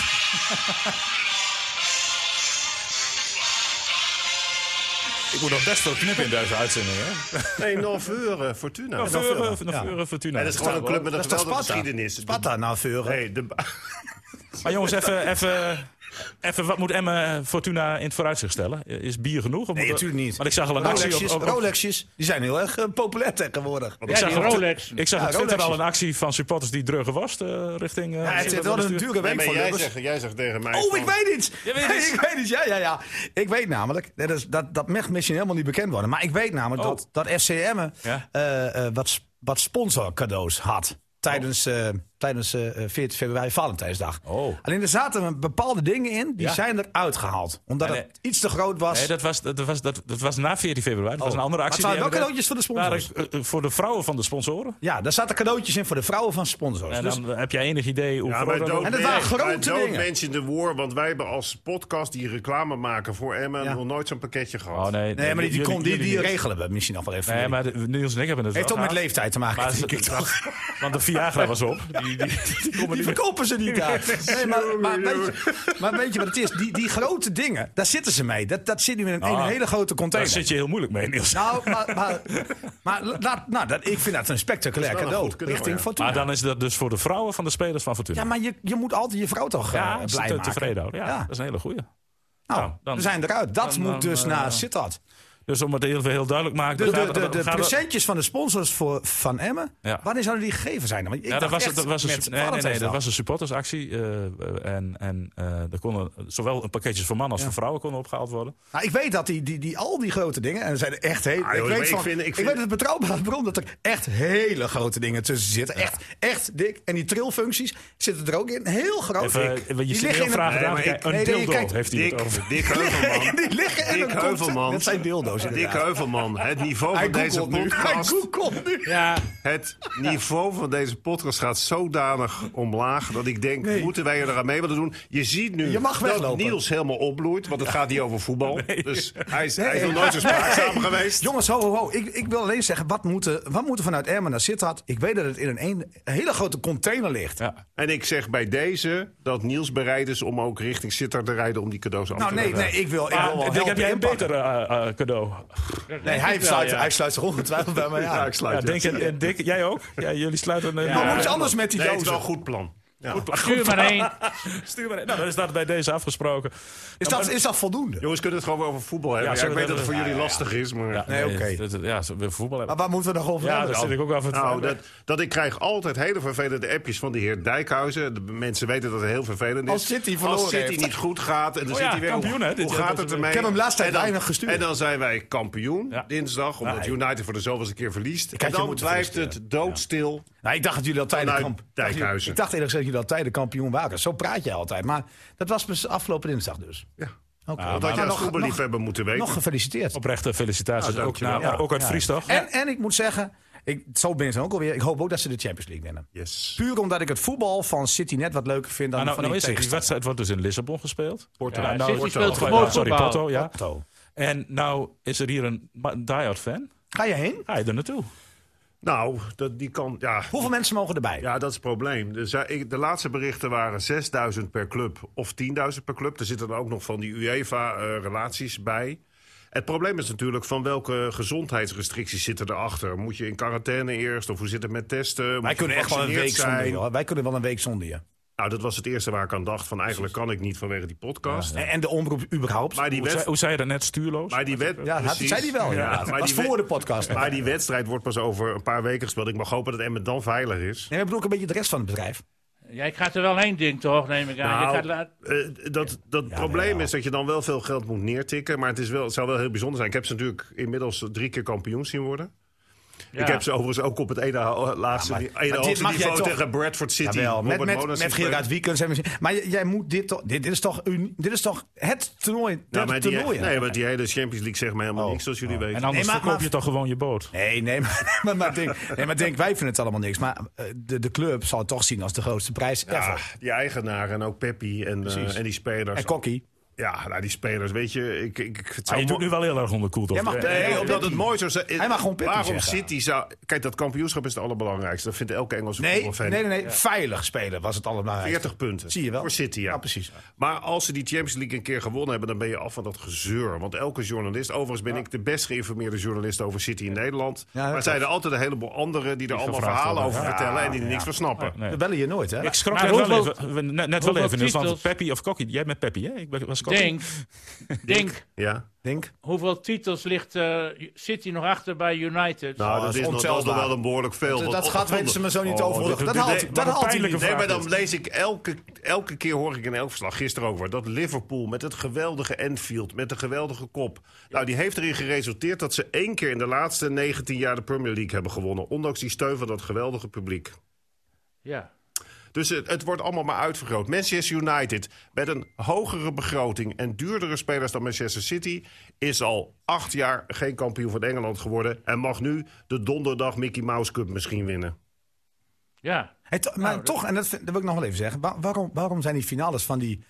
B: Ik moet nog best veel knippen in deze uitzending, hè?
C: Nee, Norveuren, Fortuna.
B: Nog
C: Nee,
B: Veuren, nog Veuren, Fortuna.
C: dat is gewoon een club met een
D: Dat is toch
C: geweldige
D: Sparta?
C: geschiedenis. De-
D: Sparta, nou, Veuren.
C: Nee, de,
B: Maar jongens, even, even, even wat moet Emmen Fortuna in het vooruitzicht stellen? Is bier genoeg? Of
D: Nee,
B: moet-
D: natuurlijk niet.
B: Maar ik zag al een actie op...
D: Rolexjes,
B: op- op-
D: Rolexjes, die zijn heel erg eh, populair tegenwoordig.
E: Ja,
B: zag
E: die
B: op-
E: Rolex.
B: ik zag
D: Ja,
B: op Twitter al
D: Rolexjes.
B: een actie van supporters die dreugen was eh, richting... eh,
D: Ja, het zit wel een dure
C: nee,
D: week
C: maar
D: voor
C: jij,
D: Lubbers.
C: zegt, jij zegt tegen mij...
D: Oh,
C: van-
D: ik weet het!
B: Je weet
D: Hey,
B: het.
D: ik weet het, ja, ja, ja. Ik weet namelijk, dat, is, dat, dat mag misschien helemaal niet bekend worden, maar ik weet namelijk
B: Oh.
D: dat, dat FCM'en
B: Ja.
D: eh, eh, wat, wat sponsorcadeaus had tijdens, eh, tijdens eh, 14 februari Valentijnsdag.
B: Oh.
D: Alleen er zaten bepaalde dingen in, die
B: Ja.
D: zijn eruit gehaald. Omdat
B: Nee, nee.
D: het iets te groot was.
B: Nee, dat was, dat, was, dat, dat was na 14 februari. Dat was een
D: Oh.
B: andere actie.
D: Maar het waren
B: die hebben
D: wel cadeautjes voor de
B: gedaan.
D: sponsors.
B: Waren, eh, eh, voor de vrouwen van de sponsoren.
D: Ja, daar zaten cadeautjes in voor de vrouwen van sponsors.
B: En
D: dus,
B: dan eh, heb jij enig idee hoe
C: Ja,
B: groot
C: maar
B: dat
C: don't,
D: En dat waren
C: men-
D: grote
C: maar don't
D: dingen.
C: mention the war, want wij hebben als podcast die reclame maken voor Emmen
D: Ja.
C: nog nooit zo'n pakketje gehad.
B: Oh, nee,
D: nee, maar die, die,
B: jullie-
D: kon- die,
B: jullie
D: die
B: niet.
D: regelen we misschien nog wel even.
B: Nee, maar de- Niels en ik hebben het
D: Heeft
B: wel
D: ook met
B: gehad.
D: leeftijd te maken.
B: Maar
D: denk ik
B: ze-
D: toch.
B: Want de Viagra was op. Die,
E: die, die, die komen
D: Die
E: niet meer.
D: verkopen ze niet daar. Nee, maar, maar, weet je, maar weet je wat het is? Die, die grote dingen, daar zitten ze mee. Dat, dat zit nu in een, in een
B: Ah,
D: hele grote
B: Daar
D: container.
B: zit je heel moeilijk mee, Niels.
D: Nou, maar, maar, maar laat- nou, dat, ik vind dat een spectaculair
C: Dat is wel een
D: cadeau.
C: goed cadeau,
D: richting
C: ja.
D: Fortuna.
B: maar dan is dat dus voor de vrouwen van de spelers van Fortuna.
D: Ja, maar je, je moet altijd je vrouw toch eh,
B: Ja,
D: blij
B: te-
D: maken.
B: tevreden houden. Ja,
D: Ja.
B: dat is een hele goeie.
D: Nou,
B: Nou, dan-
D: we zijn eruit. Dat
B: dan-
D: moet
B: dan,
D: dus
B: eh,
D: naar Sittard.
B: Dus om het heel, heel duidelijk te maken.
D: De,
B: dan
D: de,
B: gaat-
D: de,
B: dan
D: de
B: gaat het-
D: presentjes van de sponsors voor Van Emmen.
B: Ja.
D: Wanneer zouden die gegeven zijn? Want ik
B: Ja, dat
D: dacht
B: was,
D: echt
B: dat was een,
D: met
B: su- nee, nee, nee, dat
D: Valentijnsdag.
B: was een supportersactie. eh, eh, en en eh, er konden zowel een pakketjes voor mannen als voor vrouwen konden opgehaald worden.
D: Nou, ik weet dat die, die, die, al die grote dingen, en er zijn er echt hele.
C: Ah, joh,
D: ik,
C: maar
D: weet
C: ik
D: van, ik,
C: vind- ik vind-
D: weet het betrouwbare bron dat er echt hele grote dingen tussen zitten. Echt, echt dik. En die trillfuncties zitten er ook in. Heel groot.
B: Even, eh, want
D: dik.
B: je
D: Oh, Die
B: ziet heel
D: liggen in
B: vragen
D: een-
B: aan.
C: Nee, maar
B: Kijk,
C: ik-
B: Een
D: nee, nee, je
B: dildo
D: kijkt-
B: heeft hij het
C: Dick,
B: over.
C: Dick Heuvelman.
D: Die liggen in
C: Dick
D: een
C: Heuvelman.
D: Dat zijn deeldoos
C: Dick
D: inderdaad.
C: Heuvelman. Het niveau
D: Hij
C: van deze
D: googelt nu. Hij
C: podcast...
D: googelt nu.
E: Ja,
C: Het niveau van deze podcast gaat zodanig omlaag dat ik denk, moeten wij er aan mee willen doen? Je ziet nu
D: Je mag
C: dat
D: weglopen.
C: Niels helemaal opbloeit, want het gaat niet over voetbal. Dus hij is, hij is nog
D: Nee.
C: nooit zo spraakzaam
D: Nee.
C: geweest.
D: Jongens, ho, ho, ho. Ik, ik wil alleen zeggen, wat moeten, wat moeten vanuit Ermen naar Sittard? Ik weet dat het in een, een- een hele grote container ligt.
B: Ja.
C: En ik zeg bij deze dat Niels bereid is om ook richting Sittard te rijden om die cadeaus af te
D: Nou, nee,
C: leveren.
D: nee, ik wil, ik wil wel
B: Ah, Dick,
D: helpen
B: heb jij een
D: inpakken. Oh,
B: beter eh, eh, cadeau?
D: Nee, hij sluit,
E: ja.
D: hij sluit zich ongetwijfeld bij mij
C: Ja,
D: aan.
C: ik
B: Ja,
C: sluit het.
B: Dick en, en Dick, jij ook? Ja, jullie sluiten een... eh,
D: Maar
B: Ja.
D: moet je anders met die
C: Nee, het is
D: dozen?
C: wel een goed plan. Ja.
E: stuur maar heen.
B: Stuur maar in. Nou, dan is dat bij deze afgesproken.
D: Is dat, is dat voldoende?
C: Jongens, kunnen we het gewoon weer over voetbal hebben?
B: Ja,
C: Ja,
B: zo
C: ik weet
B: dat
C: dat het
B: we-
C: voor jullie lastig is, maar...
D: Nee, oké.
B: dat- dat- Ja, ze willen voetbal
D: Maar
B: hebben.
D: waar moeten we nog
B: Ja,
D: over hebben
B: daar
D: dan?
B: zit ik ook wel van te
C: Nou,
B: vragen.
C: dat, dat ik krijg altijd hele vervelende appjes van de heer Dijkhuizen. De mensen weten dat het heel vervelend is.
D: Als City verloren
C: Als City
D: heeft.
C: niet goed gaat. En dan
B: Oh
C: zit
B: ja,
C: hij weer,
B: kampioen, hè,
C: hoe,
B: dit
C: hoe
B: jaar.
C: gaat het ermee?
D: Ik heb hem laatst tijd
C: En dan-
D: weinig gestuurd.
C: En dan zijn wij kampioen
B: Ja.
C: dinsdag. Omdat
B: Nee.
C: United voor de zoveelste keer verliest.
D: had
C: en
D: je
C: dan
D: moeten
C: blijft
D: verliezen,
C: het doodstil.
D: Nou, ik dacht dat jullie al tijden
C: Vanuit
D: kamp...
C: Dijkhuizen.
D: Ik dacht eerlijk gezegd dat jullie al tijden kampioen waren. Zo praat je altijd. Maar dat was dus afgelopen dinsdag dus.
C: Ja.
D: Oké.
C: Dat had
D: Nou,
C: je als
D: nog- nog,
C: voetballiefhebber moeten weten.
D: nog gefeliciteerd.
B: Oprechte felicitaties.
C: Nou,
B: ook,
C: dankjewel.
B: naar- ook uit
D: Ja.
B: Friesdag.
D: En, en ik moet zeggen, ik, zo ben ik dan ook alweer. Ik hoop ook dat ze de Champions League winnen.
C: Yes.
D: Puur omdat ik het voetbal van City net wat leuker vind dan
B: Maar nou,
D: van
B: nou is
D: die
B: het, die
D: tegenstander.
B: wedstrijd wordt dus in Lissabon gespeeld.
C: Porto.
E: Ja,
B: En nou-
E: City
B: Porto.
E: speelt gewoon
B: Sorry,
E: voetbal.
B: Porto, ja.
D: Otto.
B: En nou is er hier een ma- die-hard fan.
D: Ga je heen?
B: Ga je er naartoe?
C: Nou, dat, die kan... Ja,
D: Hoeveel mensen mogen erbij?
C: Ja, dat is het probleem. Er zijn- ik- De laatste berichten waren 6000 per club of 10.000 per club. Er zitten dan ook nog van die UEFA-relaties bij. Het probleem is natuurlijk van welke gezondheidsrestricties zitten erachter. Moet je in quarantaine eerst of hoe zit het met testen? Moet
D: Wij
C: je
D: kunnen echt wel een week
C: gevaccineerd
D: zonder je.
C: zijn?
D: hoor. Wij kunnen wel een week zonder je.
C: Nou, dat was het eerste waar ik aan dacht. Van eigenlijk kan ik niet vanwege die podcast.
D: En, en de omroep überhaupt.
C: Maar die
B: Hoe zei,
C: wet...
B: hoe zei je dat net, stuurloos?
C: Maar die wet
D: ja, had,
C: precies.
D: zei die wel. Ja,
C: maar
D: was
C: die
D: voor
C: wet-
D: de podcast. nog.
C: Maar die wedstrijd wordt pas over een paar weken gespeeld. Ik mag hopen dat Emmen dan veilig is.
D: Nee, maar ik bedoel ook een beetje de rest van het bedrijf.
E: Jij gaat er wel heen, ding toch, neem ik aan. Je gaat
C: Nou,
E: laat-
C: eh, dat dat probleem
D: ja.
C: is dat je dan wel veel geld moet neertikken. Maar het, is wel, het zou wel heel bijzonder zijn. Ik heb ze natuurlijk inmiddels drie keer kampioen zien worden.
E: ja.
C: Ik heb ze overigens ook op het ene ho- laatste,
D: Ja, maar-
C: ni-
D: maar
C: ene
D: dit
C: hoogste
D: mag jij
C: niveau
D: toch-
C: tegen Bradford City.
D: Jawel, met,
C: Robert
D: met,
C: Monas
D: met
C: gespeeld.
D: Gerard Wiekens. en misschien- Maar j- jij moet dit toch... Dit, dit is toch uni- dit is toch het toernooi
C: Nou,
D: der
C: maar die,
D: toernooien?
C: nee, want die hele Champions League zegt me helemaal
D: Oh.
C: niks, zoals jullie weten.
B: En anders
D: Nee, maar-
B: verkoop je
D: maar-
B: toch gewoon je boot.
D: Nee, nee, maar, maar, maar denk, nee, maar denk, wij vinden het allemaal niks. Maar eh, de, de club zal het toch zien als de grootste prijs
C: ja,
D: ever.
C: die eigenaar en ook Peppi en, eh, en die spelers.
D: En Kokkie.
C: Ja, nou, die spelers, weet je. Ik, ik, het
B: Maar
C: zou
B: je doet nu wel heel erg onder koelt.
D: Jij mag-
C: Nee,
D: Nee,
C: omdat het
D: Peppi.
C: mooi zou zijn. eh,
D: Hij mag gewoon Peppi
C: Waarom
D: zeggen.
C: City zou... Kijk, dat kampioenschap is het allerbelangrijkste. Dat vindt elke Engelse
D: Nee, nee,
C: voetbalfan.
D: nee, nee. veilig spelen was het allemaal.
C: 40 punten.
D: Zie je wel.
C: Voor City, ja.
D: Ja, precies.
C: Maar als ze die Champions League een keer gewonnen hebben... dan ben je af van dat gezeur. Want elke journalist... Overigens ben ik de best geïnformeerde journalist over City in Nederland.
D: dat
C: maar er
D: klopt.
C: zijn er altijd een heleboel anderen... die er allemaal
B: gevraagd
C: verhalen
B: worden.
C: over
B: Ja,
C: vertellen... en die er niks van snappen.
B: Nee.
D: We bellen je nooit, hè?
B: Ik schrok
E: Maar
B: net wel
E: hoeveel-
B: even. we- Net, net wel
E: hoeveel
B: even, Niels. Want
E: titels-
B: Peppy of Kokkie. Jij bent Peppy, hè? Ik ben- was Kokkie.
E: Denk, denk,
C: Ja.
D: denk.
E: hoeveel titels ligt eh, City nog achter bij United?
C: Nou,
D: Oh, dat
C: dat
D: is
C: is nog- dat is nog
D: ontelbaar.
C: wel een behoorlijk veel.
D: Dat,
C: want
D: dat
C: op-
D: gaat weten ze me zo niet
B: Oh,
D: over.
B: dit-
D: Dat,
B: dit-
D: haalt,
B: dit-
D: dat
B: wat
D: haalt hij
B: pijnlijke
D: niet.
C: Nee,
B: vraag
C: maar
B: is.
C: dan lees ik elke, elke keer hoor ik in elk verslag, gisteren ook weer, dat Liverpool met het geweldige Enfield, met de geweldige kop. Nou, die heeft erin geresulteerd dat ze één keer in de laatste 19 jaar de Premier League hebben gewonnen. Ondanks die steun van dat geweldige publiek.
E: Ja.
C: Dus het, het wordt allemaal maar uitvergroot. Manchester United met een hogere begroting en duurdere spelers dan Manchester City is al acht jaar geen kampioen van Engeland geworden en mag nu de donderdag Mickey Mouse Cup misschien winnen.
E: Ja.
D: Hey, to- maar toch, en dat, vind- dat wil ik nog wel even zeggen. Wa- waarom, waarom zijn die finales van die,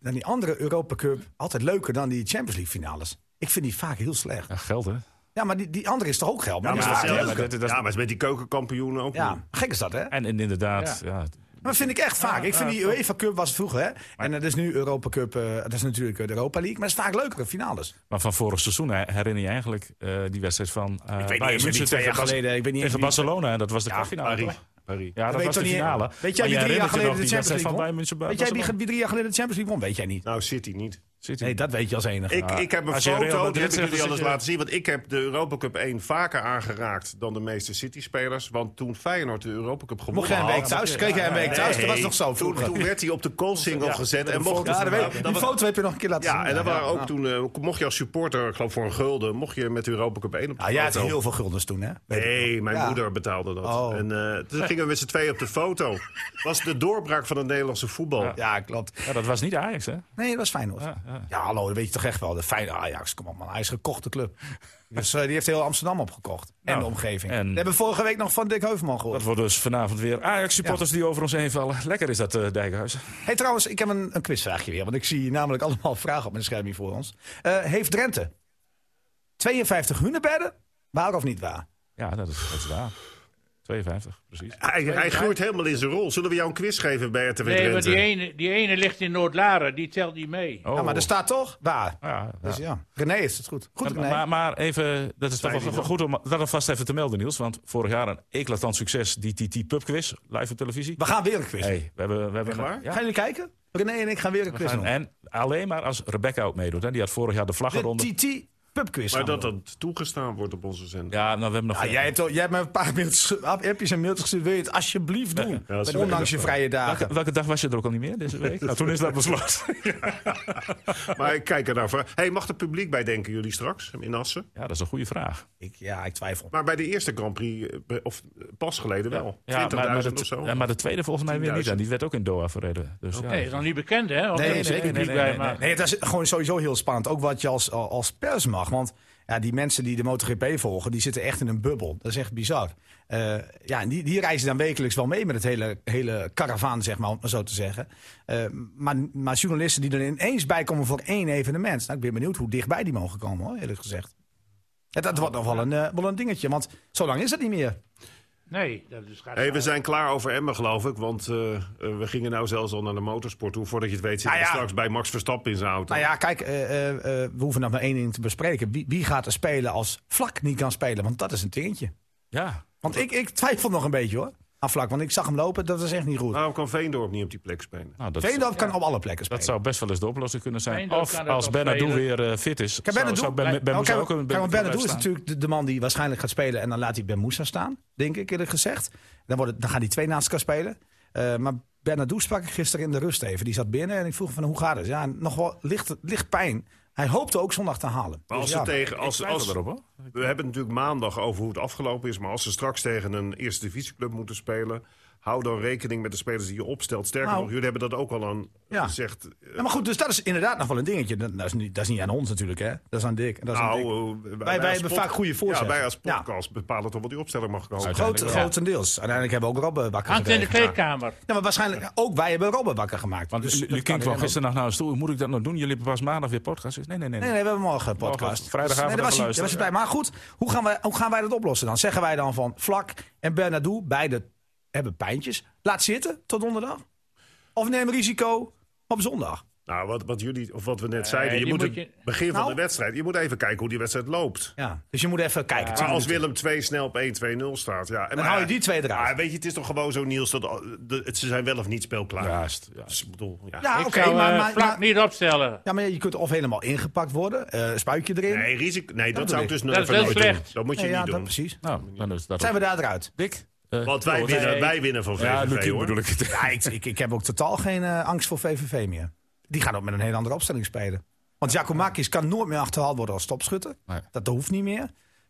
D: dan die andere Europa Cup altijd leuker dan die Champions League finales? Ik vind die vaak heel slecht.
B: Ja, geld, hè?
D: Ja, Ja, maar die, die andere is toch ook geld?
C: Ja, maar,
D: die
C: het
D: staat
C: is
D: er,
B: ja,
C: hetzelfde.
D: hè?
B: dat- dat-
C: ja, maar het is met die keukenkampioenen ook niet.
D: ja, gek is dat, hè?
B: En, en inderdaad, ja.
D: Maar vind ik echt vaak. Ik vind die UEFA Cup was vroeger, hè? En dat is nu Europa Cup, eh, dat is natuurlijk eh, de Europa League. Maar het is vaak leukere finales.
B: Maar van vorig seizoen hè, herinner je eigenlijk eh, die wedstrijd van eh
D: niet
B: Bayern
D: eens wie
B: München
D: die twee
B: tegen,
D: jaar
B: Bas-
D: geleden- ik weet niet eens
B: tegen
D: wie-
B: Barcelona. en Dat was de kwartfinale.
C: Paris.
B: toch?
C: Paris.
B: Ja, dat
D: weet
B: was de
D: toch niet-
B: finale.
D: Weet
B: Maar
D: jij wie
B: je
D: drie
B: herinnert je
D: jaar geleden
B: nog
D: de
B: die
D: Champions
B: wedstrijd
D: League
B: van
D: won?
B: Bayern München
D: Weet jij wie wie drie jaar geleden de Champions League won? Weet jij niet.
C: Nou, City niet.
D: Nee, dat weet je als enige.
C: Ik, ik heb een
B: Als je Real
C: foto,
B: Madrid
C: die heb ik
B: zegt,
C: jullie
B: dan
C: al eens
B: zit je-
C: laten zien. Want ik heb de Europa Cup 1 vaker aangeraakt dan de meeste City-spelers. Want toen Feyenoord de Europa Cup
D: Mocht
C: gewonnen
D: jij een
C: had...
D: week thuis? Kreeg jij een week thuis?
C: Nee,
D: Dat was toch zo
C: toen,
D: vroeger?
C: toen werd hij op de call-single gezet. En mocht,
D: Ja, dat weet ik.
C: dat
D: Die
C: was-
D: foto heb je nog een keer laten zien.
C: ja, en dat waren ook toen, eh, mocht je als supporter, ik geloof voor een gulden, mocht je met de Europa Cup 1 op de
D: Nou, jij had
C: foto.
D: heel veel guldens toen, hè? Weet ik.
C: Nee, mijn
D: Ja.
C: moeder betaalde dat.
D: Oh.
C: En eh, toen gingen we met z'n tweeën op de foto. was de doorbraak van het Nederlandse voetbal.
D: Ja, klopt.
B: Ja, dat was niet Ajax, hè?
D: Nee, dat is Feyenoord. Ja,
B: Ja, ja.
D: hallo, dat weet je toch echt wel. De Feyenoord Ajax, kom op man. Hij is gekochte club. Dus eh, die heeft heel Amsterdam opgekocht. En
B: Nou,
D: de omgeving.
B: en-
D: We hebben vorige week nog van Dick Heuvelman gehoord.
B: Dat worden dus vanavond weer Ajax-supporters die over ons heen vallen. Lekker is dat, eh Dijkhuizen.
D: Hey, trouwens, ik heb een, een quizvraagje weer. Want ik zie namelijk allemaal vragen op mijn scherm hier voor ons. Eh, heeft Drenthe 52 hunebedden? Waar of niet waar?
B: Ja, dat is, dat is waar. 52, precies.
C: Hij, hij groeit helemaal in zijn rol. Zullen we jou een quiz geven bij RTV
E: Nee, maar
C: Drenthe?
E: die ene, die ene ligt in Noord-Laren, die telt niet mee.
B: Oh.
D: Ja, maar er staat toch waar.
B: Ja, ja.
D: Dus ja, René is het goed. Goed, René.
B: Maar, maar- maar even, dat is toch wel go- goed om dat alvast even te melden, Niels. Want vorig jaar een eclatant succes, die TT Pub Quiz, live op televisie.
D: We gaan weer een quiz.
B: Hey, we hebben, we hebben
C: waar?
B: Ja.
D: Gaan jullie kijken? René en ik gaan weer een quiz doen.
B: En alleen maar als Rebecca ook meedoet. Hè. Die had vorig jaar de vlag eronder.
D: De TT pubquiz.
C: Maar
D: gaan we
C: dat
D: doen.
C: dat toegestaan wordt op onze zender.
B: Ja, nou, we hebben nog...
D: Ah, jij, hebt, al- jij hebt me een paar mailtjes, ge- appjes en mailtjes gestuurd. Wil je het alsjeblieft doen?
C: dat is
D: ondanks je vrije dagen.
B: welke, welke dag was je er ook al niet meer deze week? nou, toen is dat besloten.
C: Maar ik kijk er naar voor. Hey, mag het publiek bij denken, jullie straks in Assen?
B: ja, dat is een goede vraag.
D: Ik, ja, ik twijfel.
C: Maar bij de eerste Grand Prix, eh, of eh, pas geleden wel.
B: Ja,
C: 20.000
B: maar, maar, de,
C: of zo.
B: ja, maar de tweede volgens mij weer niet.
C: 10.000.
B: En die werd ook in Doha verreden. Dus, ja.
E: Nee, is nog niet bekend, hè? Of
D: Nee,
E: er
D: nee,
E: is
D: nee,
E: publiek
B: nee,
E: bij,
B: nee,
E: maar-
B: nee,
D: Nee, dat is gewoon sowieso heel spannend. Ook wat je als, als pers mag. Want ja, die mensen die de MotoGP volgen, die zitten echt in een bubbel. Dat is echt bizar. Eh, ja, en die, die reizen dan wekelijks wel mee met het hele, hele karavaan, zeg maar, om het maar zo te zeggen. Eh, maar, maar journalisten die er ineens bij komen voor één evenement. Nou, ik ben benieuwd hoe dichtbij die mogen komen, hoor, eerlijk gezegd. Ja, dat wordt nog wel een, eh, wel een dingetje, want zo lang is dat niet meer.
E: Nee, dat is gaat
C: Hey, we zijn klaar over Emmen, geloof ik. Want eh, eh, we gingen nou zelfs al naar de motorsport toe. Voordat je het weet zitten
D: Nou ja.
C: we straks bij Max Verstappen in zijn auto.
D: Nou ja, kijk, eh, eh, eh, we hoeven nog maar één ding te bespreken. Wie, wie gaat er spelen als Vlak niet kan spelen? Want dat is een dingetje.
B: ja.
D: Want ik, ik twijfel nog een beetje hoor. Aan vlak, want ik zag hem lopen, dat was echt niet goed.
C: Waarom kan Veendorp niet op die plek spelen?
B: Nou, Oh, dat,
D: Veendorp kan op alle plekken spelen.
B: dat zou best wel eens de oplossing kunnen zijn.
E: Veendorp
B: Of
E: kan het
B: als
E: wel
B: Bernardo
E: spelen.
B: weer eh, fit is. zou-
D: Kijk, Bernardo-
B: zou Ben, ben,
D: Nou,
B: Moussa
D: kijk,
B: ook een
D: kijk, want Bernardo is
B: blijven staan.
D: natuurlijk de, de man die waarschijnlijk gaat spelen. En dan laat hij Ben Moussa staan, denk ik eerlijk gezegd. Dan, worden, dan gaan die twee naast elkaar spelen. Eh, maar Bernardo sprak ik gisteren in de rust even. Die zat binnen en ik vroeg van hoe gaat het? Ja, nog wel licht, licht pijn. Hij hoopte ook zondag te halen.
C: Maar als
D: Dus ja,
C: ze tegen, als,
B: Nou, Ik twijfel
C: als,
B: erop, hoor.
C: we hebben het natuurlijk maandag over hoe het afgelopen is. Maar als ze straks tegen een eerste divisieclub moeten spelen. Hou dan rekening met de spelers die je opstelt. Sterker
D: Nou.
C: nog, jullie hebben dat ook al aan
D: Ja.
C: gezegd. Eh,
D: Ja, maar goed, dus dat is inderdaad nog wel een dingetje. Dat, dat is, niet, dat is niet aan ons natuurlijk, hè? Dat is aan Dick. en Dat is aan
C: nou,
D: Dick.
C: eh, wij,
D: wij
C: als
D: hebben
C: pod-
D: vaak goede voorzetten.
C: Ja, wij als
D: Ja.
C: podcast bepalen toch wat die opstelling mag komen.
D: Groot,
B: uiteindelijk wel.
D: Grotendeels. Uiteindelijk hebben we ook Robben wakker
E: Hangt in de
D: gekregen.
E: kleedkamer.
D: Ja, maar waarschijnlijk ook wij hebben Robben wakker gemaakt.
B: Want
D: Dus
B: Lu-
D: dat
B: Luc
D: kan
B: King kwam
D: helemaal.
B: gisteren nog naar een stoel. Moet ik dat nog doen? Jullie hebben pas maandag weer podcast. Nee, nee, nee.
D: Nee,
B: nee.
D: nee, we hebben morgen een podcast.
B: Morgen, vrijdagavond
D: nee, daar was, hij,
B: even
D: daar was hij
B: luisteren.
D: bij. Maar goed, hoe gaan, wij, hoe gaan wij dat oplossen dan? Zeggen wij dan van Vlak en Bernardo, beide hebben pijntjes. Laat zitten tot donderdag. Of neem risico op zondag.
C: Nou, wat, wat, jullie, of wat we net zeiden. Je
E: die
C: moet
E: moet
C: het
E: je-
C: begin van
D: Nou.
C: de wedstrijd. Je moet even kijken hoe die wedstrijd loopt.
D: Ja. Dus je moet even kijken.
C: Maar
D: Tien
C: als
D: minuten.
C: Willem 2 snel op 1-2-0 staat. Ja. En
D: Dan hou je die twee eruit.
C: Ah, weet je, het is toch gewoon zo, Niels, dat al- de- het- ze zijn wel of niet speelklaar.
B: Juist, ja.
C: Dus, ik bedoel, ja.
D: Ja,
E: ik
D: Ah, oké,
E: zou
D: maar,
E: eh,
D: maar,
E: vlak
D: maar-
E: niet opstellen.
D: ja, maar je kunt of helemaal ingepakt worden, eh spuitje erin.
C: Nee, risico, nee dat,
D: bedoel
C: zou
D: ik.
C: ik dus
E: Dat
C: nooit
E: is heel
C: nooit doen.
E: slecht.
C: Dat moet je
D: Nee,
C: niet
D: ja, dat,
C: doen.
D: precies.
B: Nou, dan is dat
D: Zijn
B: ook.
D: we daar eruit?
B: Dick? eh,
C: Want wij,
B: Robert?
C: winnen,
E: nee.
C: wij winnen van VVV,
B: Ja, Luc King
C: hoor.
B: bedoel ik het.
D: Ja, ik, ik, ik heb ook totaal geen eh, angst voor VVV meer. Die gaan ook met een hele andere opstelling spelen. Want Giacomakis kan nooit meer achterhaald worden als topschutter.
B: Nee.
D: Dat hoeft niet meer.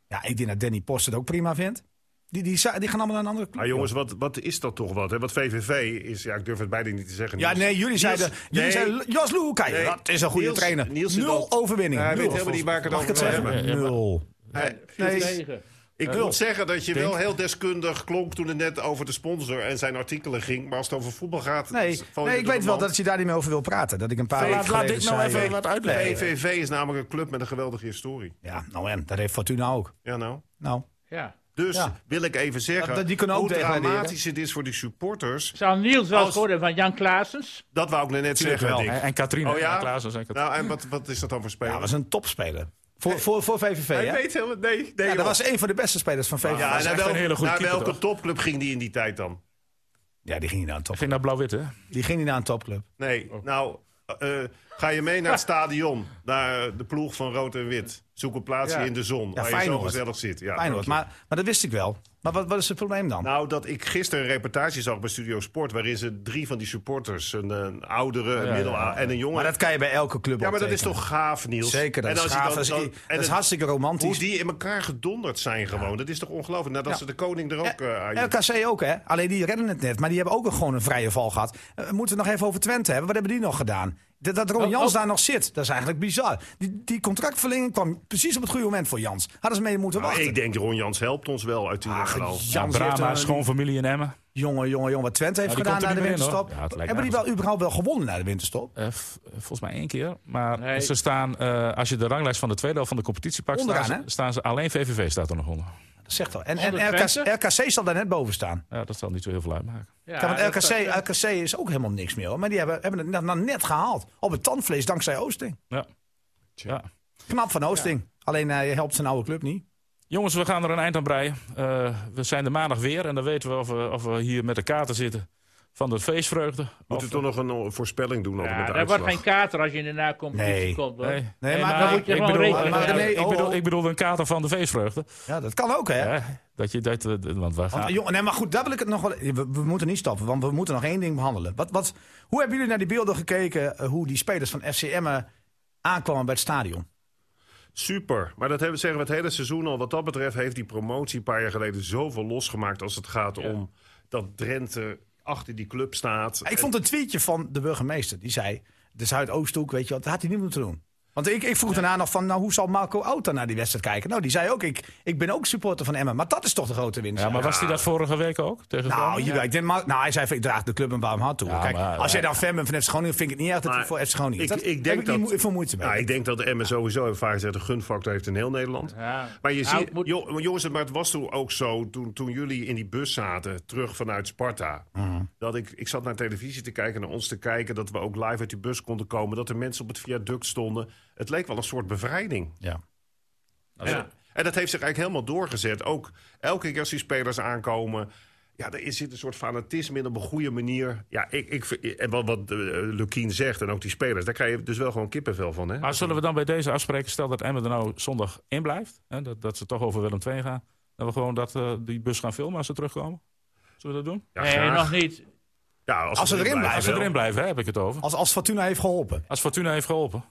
D: Ja, ik denk dat Danny Post het ook prima vindt. Die, die, za- die gaan allemaal naar een andere club.
C: Maar jongens, wat, wat is dat toch wat? Hè? Wat VVV is, ja, ik durf het beide niet te zeggen.
D: ja,
C: Niels.
D: nee, jullie zeiden,
C: Niels,
D: jullie
C: nee.
D: zeiden Jos Luhukay,
C: Nee.
D: dat is een goede
C: Niels-
D: trainer.
C: Niels zit
D: Nul
C: al-
D: overwinningen.
C: Hij weet
D: Nul.
C: helemaal niet waar ik het
D: Mag ik
C: over
D: het
C: wil
D: zeggen?
C: hebben.
D: Nul.
C: Hij-
E: Nee.
D: Nee.
E: Tegen.
C: Ik wil zeggen dat je
B: Denk-
C: wel heel deskundig klonk toen het net over de sponsor en zijn artikelen ging. Maar als het over voetbal gaat...
D: Nee,
C: val je
D: nee
C: er
D: ik
C: door
D: weet
C: de
D: wel
C: mand.
D: dat je daar niet meer over wil praten. Dat ik een paar
B: Laat-
D: weken
B: laat
D: geleden
B: dit nou
D: zei,
B: even
D: eh,
B: wat uitleggen.
C: PVV is namelijk een club met een geweldige historie.
D: Ja, nou en, dat heeft Fortuna ook.
C: Ja nou.
D: Nou,
E: Ja.
C: Dus
D: Ja.
C: wil ik even zeggen,
D: Dat- dat- die kunnen ook
C: hoe
D: degraderen.
C: dramatisch het is voor die supporters.
E: Zou Niels wel
C: Als-
E: eens horen van Jan Klaasens?
C: Dat wou ik net
B: Tuurlijk
C: zeggen,
B: wel.
C: Dick.
B: En, en Katrine.
C: Oh ja?
B: Ja, Klaas was en Katrine.
C: Nou, en wat, wat is dat dan voor speler?
D: ja, dat was een topspeler. Voor, voor, voor VVV,
C: Hij
D: hè?
C: weet helemaal... Nee, nee
D: ja,
C: joh.
D: dat was een van de beste spelers van VVV.
C: Ja,
B: was
C: naar,
B: echt een
C: welk-
B: hele goede
C: naar
B: keeper,
C: welke
B: toch?
C: topclub ging die in die tijd dan?
D: Ja, die ging niet naar een top.
B: Ging naar Blauw-Wit, hè?
D: Die ging niet naar een topclub.
C: Nee,
D: Oh.
C: nou, eh, ga je mee naar het stadion, naar eh, de ploeg van Rood en Wit. Zoek een plaatsje
E: Ja.
C: in de zon, waar je zo
D: Feyenoord.
C: gezellig zit. Ja,
D: Feyenoord. Maar, maar dat wist ik wel. Maar wat, wat is het probleem dan?
C: Nou, dat ik gisteren een reportage zag bij Studio Sport... waarin ze drie van die supporters, een, een oudere, een middel en een jongen...
D: maar dat kan je bij elke club
C: ja, maar dat is
D: optekenen.
C: toch gaaf, Niels?
D: Zeker, dat
C: En
D: is
C: als je
D: gaaf.
C: dan-
D: Dat is-
C: dan-
D: dat
C: en
D: is
C: het-
D: hartstikke
C: Hoe
D: romantisch.
C: die in elkaar gedonderd zijn gewoon. Dat is toch ongelooflijk? Nadat
D: Ja.
C: ze de koning er ook eh, aan-
D: Ja, LKC ook, hè? Alleen die redden het net. Maar die hebben ook een, gewoon een vrije val gehad. Eh, moeten we nog even over Twente hebben? Wat hebben die nog gedaan? Dat, dat Ron
C: Nou,
E: Oh,
D: Jans
E: oh.
D: daar nog zit, dat is eigenlijk bizar. Die, die contractverlenging kwam precies op het goede moment voor Jans. Hadden ze mee moeten
C: Nou,
D: wachten.
C: ik denk, Ron Jans helpt ons wel uit die
E: Ah,
C: geloof.
B: Ja,
D: heeft
B: Brahma,
D: een-
B: schoonfamilie in Emmen.
D: Jongen, jongen, jongen. Wat Twente heeft
B: Ja, die
D: gedaan
B: komt
D: na
B: er
D: de
B: niet meer in, hoor.
D: winterstop.
B: Ja, het lijkt
D: hebben die
B: nergens
D: wel überhaupt wel gewonnen na de winterstop?
B: Eh, v- eh, volgens mij één keer. Maar
E: Nee.
B: ze staan, eh, als je de ranglijst van de tweede helft van de competitie pakt, staan
D: Onderaan,
B: ze,
D: hè?
B: staan ze alleen VVV staat er nog onder.
D: Dat zegt al. En, en
E: Onder
D: RKC,
E: Twente?
D: RKC zal daar net boven staan.
B: Ja, dat zal niet zo heel veel uitmaken.
E: Ja,
D: Ja, want
E: dat- dat-
D: RKC, RKC is ook helemaal niks meer. Hoor. Maar die hebben, hebben het net- nou net gehaald. Op het tandvlees dankzij Oosting.
B: Ja. Ja.
D: Knap van Oosting. Alleen hij helpt zijn oude club niet.
B: Jongens, we gaan er een eind aan breien. Eh, we zijn er maandag weer en dan weten we of, we of we hier met de kaarten zitten van de feestvreugde.
C: Moeten
B: Of-
C: we toch nog een eh, voorspelling doen over
E: Ja,
C: de
E: er wordt
C: uitslag?
E: geen kater als je in de na-competitie
D: Nee.
E: komt. Hoor.
B: Nee,
D: Nee, maar
E: dan moet je
B: ik
E: gewoon
B: bedoel,
E: rekening
B: maar-
E: houden.
D: Nee,
B: ik
D: oh,
B: bedoel,
D: oh.
B: ik bedoel een kater van de feestvreugde.
D: Ja, dat kan ook, hè?
B: Hè? Dat je dat, eh, want we gaan.
D: Want, jongen, nee, maar goed, daar wil ik het nog wel. We, we moeten niet stoppen, want we moeten nog één ding behandelen. Wat, wat, hoe hebben jullie naar die beelden gekeken? eh, Hoe die spelers van FCM aankwamen bij het stadion?
C: Super. Maar dat hebben, zeggen we het hele seizoen al. Wat dat betreft heeft die promotie een paar jaar geleden zoveel losgemaakt... als het gaat om dat Drenthe achter die club staat.
D: Ik vond een tweetje van de burgemeester. Die zei, de Zuidoosthoek, weet je wat, dat had hij niet moeten doen. Want ik, ik vroeg daarna nog van, nou, hoe zal Marco Outa naar die wedstrijd kijken? Nou, die zei ook, ik, ik ben ook supporter van Emmen. Maar dat is toch de grote winst.
B: ja, maar was die dat vorige week ook? Tegen
D: Nou,
B: Groningen?
D: jawel, ik denk, maar, nou, hij zei, van, ik draag de club een warm hart toe.
B: Ja,
D: Kijk,
B: maar-
D: als jij dan fan bent van FC Groningen, vind ik het niet erg dat hij
C: Maar
D: voor FC Groningen is.
C: ik-
D: Dat
C: ik denk
D: heb niet
C: dat-
D: mo- veel moeite mee.
C: Nou, ik denk dat de MS sowieso heeft vaak gezegd... een gunfactor heeft in heel Nederland.
E: Ja.
C: Maar je
E: Nou,
C: ziet,
E: het moet-
C: jo- maar jongens, maar het was toen ook zo... toen, toen jullie in die bus zaten, terug vanuit Sparta... dat ik, ik zat naar televisie te kijken, naar ons te kijken... dat we ook live uit die bus konden komen... dat er mensen op het viaduct stonden. Het leek wel een soort bevrijding.
D: ja.
C: En, en dat heeft zich eigenlijk helemaal doorgezet. Ook elke keer als die spelers aankomen. Ja, er is- zit een soort fanatisme in op een goede manier. Ja, ik, ik, vind- en wat, wat eh, Lukien zegt en ook die spelers, daar krijg je dus wel gewoon kippenvel van. Hè?
B: Maar zullen we dan bij deze afspreken, stel dat Emmen er nou zondag in blijft, hè, dat, dat ze toch over Willem II gaan, dat we gewoon dat, eh, die bus gaan filmen als ze terugkomen? Zullen we dat doen?
C: Ja,
E: Nee,
C: graag.
E: nog niet.
C: Ja, als,
D: Als
C: ze erin blijven.
B: Als ze
C: wel.
B: erin blijven, hè, heb ik het over.
D: Als, als Fortuna heeft geholpen.
B: Als Fortuna heeft geholpen,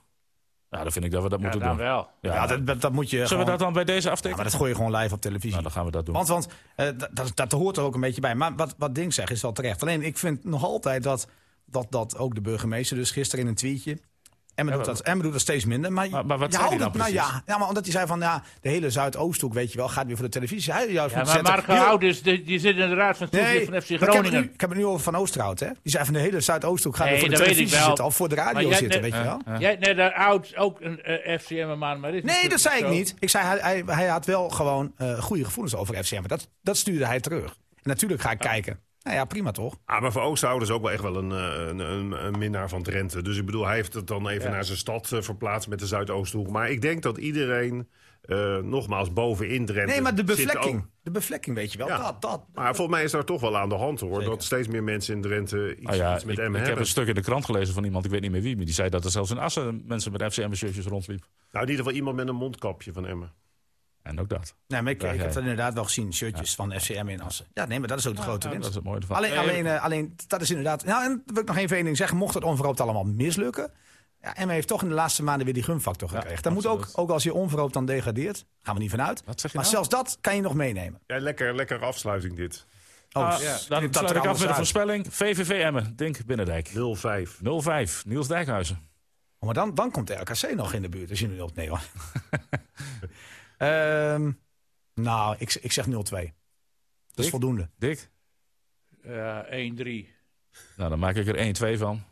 B: ja, dan vind ik dat we dat
E: Ja,
B: moeten
E: dan
B: doen.
E: wel.
B: Ja.
D: Ja, dat, dat, dat moet je
B: Zullen
D: gewoon-
B: we dat dan bij deze
D: Ja,
B: aftikken?
D: maar dat gooi je gewoon live op televisie.
B: Nou, dan gaan we dat doen.
D: Want, want eh, dat- dat, dat hoort er ook een beetje bij. Maar wat, wat Ding zegt is wel terecht. Alleen ik vind nog altijd dat, dat, dat ook de burgemeester dus gisteren in een tweetje... Emma doet,
B: maar-
D: dat, Emma doet dat steeds minder. Maar,
B: Maar- maar wat
D: je
B: zei hij
D: houdt
B: dan
D: het- nou ja, ja, maar omdat hij zei van ja, de hele Zuidoosthoek, weet je wel, gaat weer voor de televisie. Hij juist
E: Ja,
D: moeten
E: maar
D: zetten,
E: Marco
D: heel-
E: Ouders, die, die zit in de raad van toezicht van FC
D: maar ik heb, het
E: Groningen.
D: nu, ik heb het nu over Van Oosterhout, hè? Die zei van de hele Zuidoosthoek gaat
E: Nee,
D: weer voor de
E: dat weet ik
D: televisie
E: wel.
D: zitten. Of voor de
E: Maar
D: radio
E: jij-
D: zitten,
E: nee,
D: weet je wel.
E: Jij, nee, daar oud ook een eh, FCM-man, maar
D: Nee,
E: dit is
D: dat
E: natuurlijk
D: zei ik
E: zo.
D: niet. Ik zei, hij, hij, hij had wel gewoon eh, goede gevoelens over FCM. Maar Dat, dat stuurde hij terug. En natuurlijk ga ik kijken. Nou ja, prima toch?
C: Ah, maar voor Oosthouden is ook wel echt wel een, eh, een, een, een minnaar van Drenthe. Dus ik bedoel, hij heeft het dan even naar zijn stad eh, verplaatst met de Zuidoosthoek. Maar ik denk dat iedereen, eh, nogmaals, bovenin Drenthe...
D: Nee, maar de
C: dus zit ook-
D: bevlekking. De bevlekking, weet je wel.
C: Ja.
D: Dat, dat.
C: Maar volgens mij is daar toch wel aan de hand hoor.
D: Zeker.
C: Dat steeds meer mensen in Drenthe iets,
B: Nou ja,
C: iets met
B: ik,
C: M
B: ik
C: hebben.
B: heb een stuk in de krant gelezen van iemand, ik weet niet meer wie, maar die zei dat er zelfs in Assen mensen met FCM-shirtjes rondliep.
C: Nou, in ieder geval iemand met een mondkapje van Emmen.
B: En ook dat.
D: Nee, maar ik,
B: Ja,
D: ik heb
B: ja.
D: dat inderdaad wel gezien. Shirtjes van FCM in Assen. Ja, nee, maar dat is ook de grote
B: Dat
D: winst.
B: is het mooie ervan.
D: Alleen,
B: Eh,
D: alleen, eh, alleen, dat is inderdaad... Nou, en wil ik nog even één ding zeggen. Mocht het onverhoopt allemaal mislukken... Ja, Emma heeft toch in de laatste maanden weer die gunfactor gekregen. dat moet ook, ook als je onverhoopt dan degradeert. Gaan we niet vanuit.
B: Wat zeg je
D: maar
B: nou?
D: zelfs dat kan je nog meenemen.
C: Ja, lekker, lekker afsluiting dit.
D: Oh,
B: Ah,
D: ja.
B: Dan
D: knipt dat
B: sluit
D: er
B: ik af
D: anders
B: met een
D: uit.
B: voorspelling. VVV Emmen, Dink Binnendijk.
C: 0-5.
B: 0-5, Niels Dijkhuizen.
D: Oh, maar dan, dan komt de RKC nog in de buurt als je nu opneemt. Ehm Nou, ik, ik zeg 0-2. Dat is
B: Ik?
D: voldoende.
B: Dick?
E: Eh, 1-3.
B: Nou, dan maak ik er 1-2 van.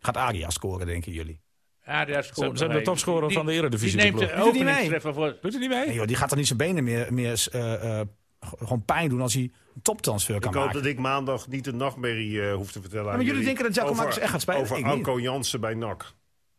D: Gaat Aria scoren, denken jullie?
E: Ja, daar
G: Ze
E: scoort
G: hebben de
E: nog één.
G: topscorer
E: Die-
G: van de
E: Die
G: Eredivisie.
E: neemt eh,
G: de ploeg.
E: de
D: Doet hij niet mee?
E: openingstreffer voor...
B: Doet hij niet mee?
D: Nee, joh, die gaat dan niet zijn benen meer, meer eh, eh, g- gewoon pijn doen als hij een toptransfer kan
C: Ik hoop
D: maken.
C: dat ik maandag niet een nachtmerrie eh, hoef te vertellen aan
D: maar jullie denken dat Jacco
C: over-
D: Martens echt gaat spelen?
C: Over
D: Ik
C: Anko Jansen bij NAC.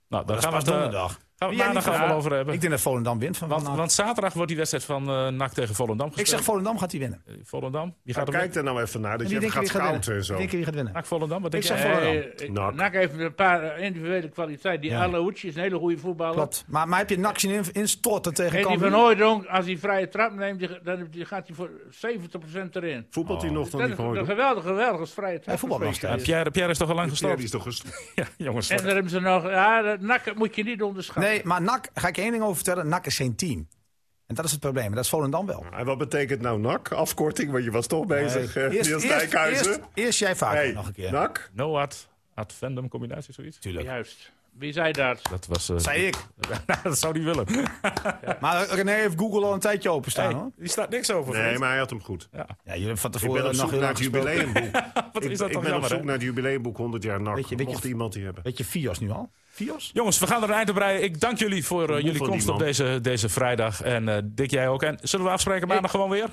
B: Nou, dan
D: Dat
B: gaan we
D: is
B: het
D: pas
B: eh,
D: donderdag.
B: gaan we het
D: Jij
B: maandag
D: niet
B: even
D: van-
B: over hebben.
D: Ik denk dat Volendam wint van
B: Want,
D: vandaag.
B: want zaterdag wordt die wedstrijd van eh NAC tegen Volendam
D: ik
B: gespeeld.
D: zeg Volendam gaat hij winnen.
B: Eh, Volendam. Wie
C: Ja,
B: gaat er
C: kijk daar nou even naar, dat
D: Wie
C: je hem
D: denken
C: gaat
D: wie gaat
C: scouten
D: winnen?
C: en zo.
D: Denk je wie gaat winnen?
B: NAC Volendam? Wat denk
D: Ik
B: jij?
D: zeg Volendam.
E: Eh, eh,
C: Nak.
E: NAC heeft een paar eh, individuele kwaliteit. Die
D: Ja.
E: Alauchi is een hele goede voetballer.
D: Klopt. Maar, maar heb je Nax in instorten tegen
E: En die Van
D: Cambuur?
E: Hooijdonk, als hij vrije trap neemt, die- dan die gaat hij voor 70% erin.
C: Voetbalt hij nog dan
E: Dat
C: niet
E: is een
C: gewoon?
E: geweldige, geweldige vrije trap.
D: Hij voetbalt nog
B: Eh, Ja,
D: steeds.
B: Pierre, Pierre is toch al lang
C: Ja, die
B: gestopt?
C: is toch gestopt.
B: Ja, jongens.
E: En eh, dan hebben ze nog... Ja, dat NAC dat moet je niet onderschatten.
D: Nee, maar NAC, ga ik je één ding over vertellen. NAC is geen team. En dat is het probleem. En Dat is Volendam wel.
C: En wat betekent nou NAC? Afkorting, want je was toch bezig,
D: Nee.
C: eh, Niels Dijkhuizen.
D: eerst- eerst jij vaak
C: Hey, Nou.
D: nog een keer.
C: NAC?
B: No ad, ad vendum combinatie, zoiets.
D: Tuurlijk.
E: Juist. Wie zei dat?
B: Dat was... eh,
D: Zei ik.
B: dat zou die willen.
D: Maar René heeft Google al een tijdje openstaan
B: Hey,
D: hoor.
B: die staat niks over.
C: Nee,
B: vriend.
C: maar hij had hem goed.
D: Ja, jullie hebben van
C: Ik
D: tevoren
C: ben op
D: nog
C: zoek
D: heel
C: naar
D: lang
C: het
D: gespeeld.
C: jubileumboek.
B: Wat
C: Ik
B: is dat
C: ik
B: toch
C: ben op
B: jammer,
C: zoek
B: hè?
C: naar het jubileumboek 100 jaar NAC.
D: Weet je- weet je-
C: Mocht iemand die hebben.
D: Weet je, Fios nu al? Fios?
B: Jongens, we gaan er een eind op breien. Ik dank jullie voor eh, jullie
C: van
B: komst
C: die
B: op
C: man.
B: deze, deze vrijdag. En eh Dick, jij ook. En zullen we afspreken maandag gewoon weer?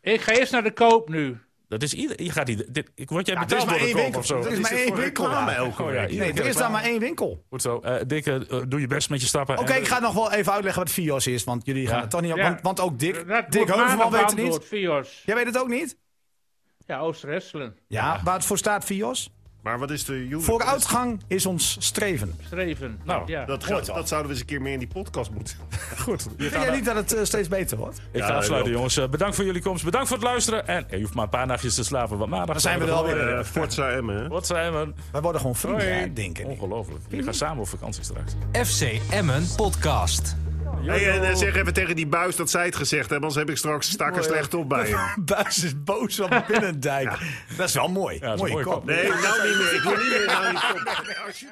E: Ik ga eerst naar de koop nu.
B: Dat is ieder... Je gaat niet... Dit, ik word jij
D: het is
B: betaald
D: maar
B: door de
D: één
B: koop
D: winkel.
B: of zo?
D: Het is maar
C: dit
D: één
C: voor
D: winkel
C: reclame
D: daar.
C: elke
B: Oh, ja,
C: week?
B: iedere
D: Nee,
B: keer.
D: er is daar maar één winkel. Oké,
B: Goed zo. Eh Dick, eh, doe je best met je stappen. Eh, En,
D: ik ga nog wel even uitleggen wat Fios is, want jullie gaan het toch niet op.
E: Ja.
D: Want, want ook Dick,
E: Dat
D: Dick
E: wordt
D: Heuvelman
E: maandag
D: weet het niet.
E: beantwoord, Fios.
D: Jij weet het ook niet?
E: Ja, Oost-Resselen.
D: Ja, waar het voor staat, Fios?
C: Maar wat is de jubileum?
D: Vooruitgang is ons streven.
E: Streven.
B: Nou,
E: ja.
C: Dat, gaat- dat zouden we eens een keer meer in die podcast moeten.
B: Goed. Je
D: Vind
B: gaat
D: jij
B: naar-
D: niet dat het eh, steeds beter wordt?
B: Ik ga
C: Ja,
B: afsluiten,
C: joh.
B: jongens. Eh, Bedankt voor jullie komst. Bedankt voor het luisteren. En eh, je hoeft maar een paar nachtjes te slapen. Want maandag
D: zijn we er alweer.
C: Eh, Forza Emmen, hè?
B: Wat zijn we?
D: Wij worden gewoon vrienden,
B: Hoi.
D: hè, denk ik.
B: Ongelooflijk. Jullie gaan samen op vakantie straks.
A: FC Emmen Podcast.
C: Hey, en eh, zeg even tegen die buis dat zij het gezegd hebben, anders heb ik straks stakken slecht op bij hem.
D: Buis is boos op Binnendijk. Dat is wel mooi.
B: is een
D: Mooie
B: mooie
D: kop.
B: kop.
C: Nee, nou niet meer. Ik wil niet meer nou die kop.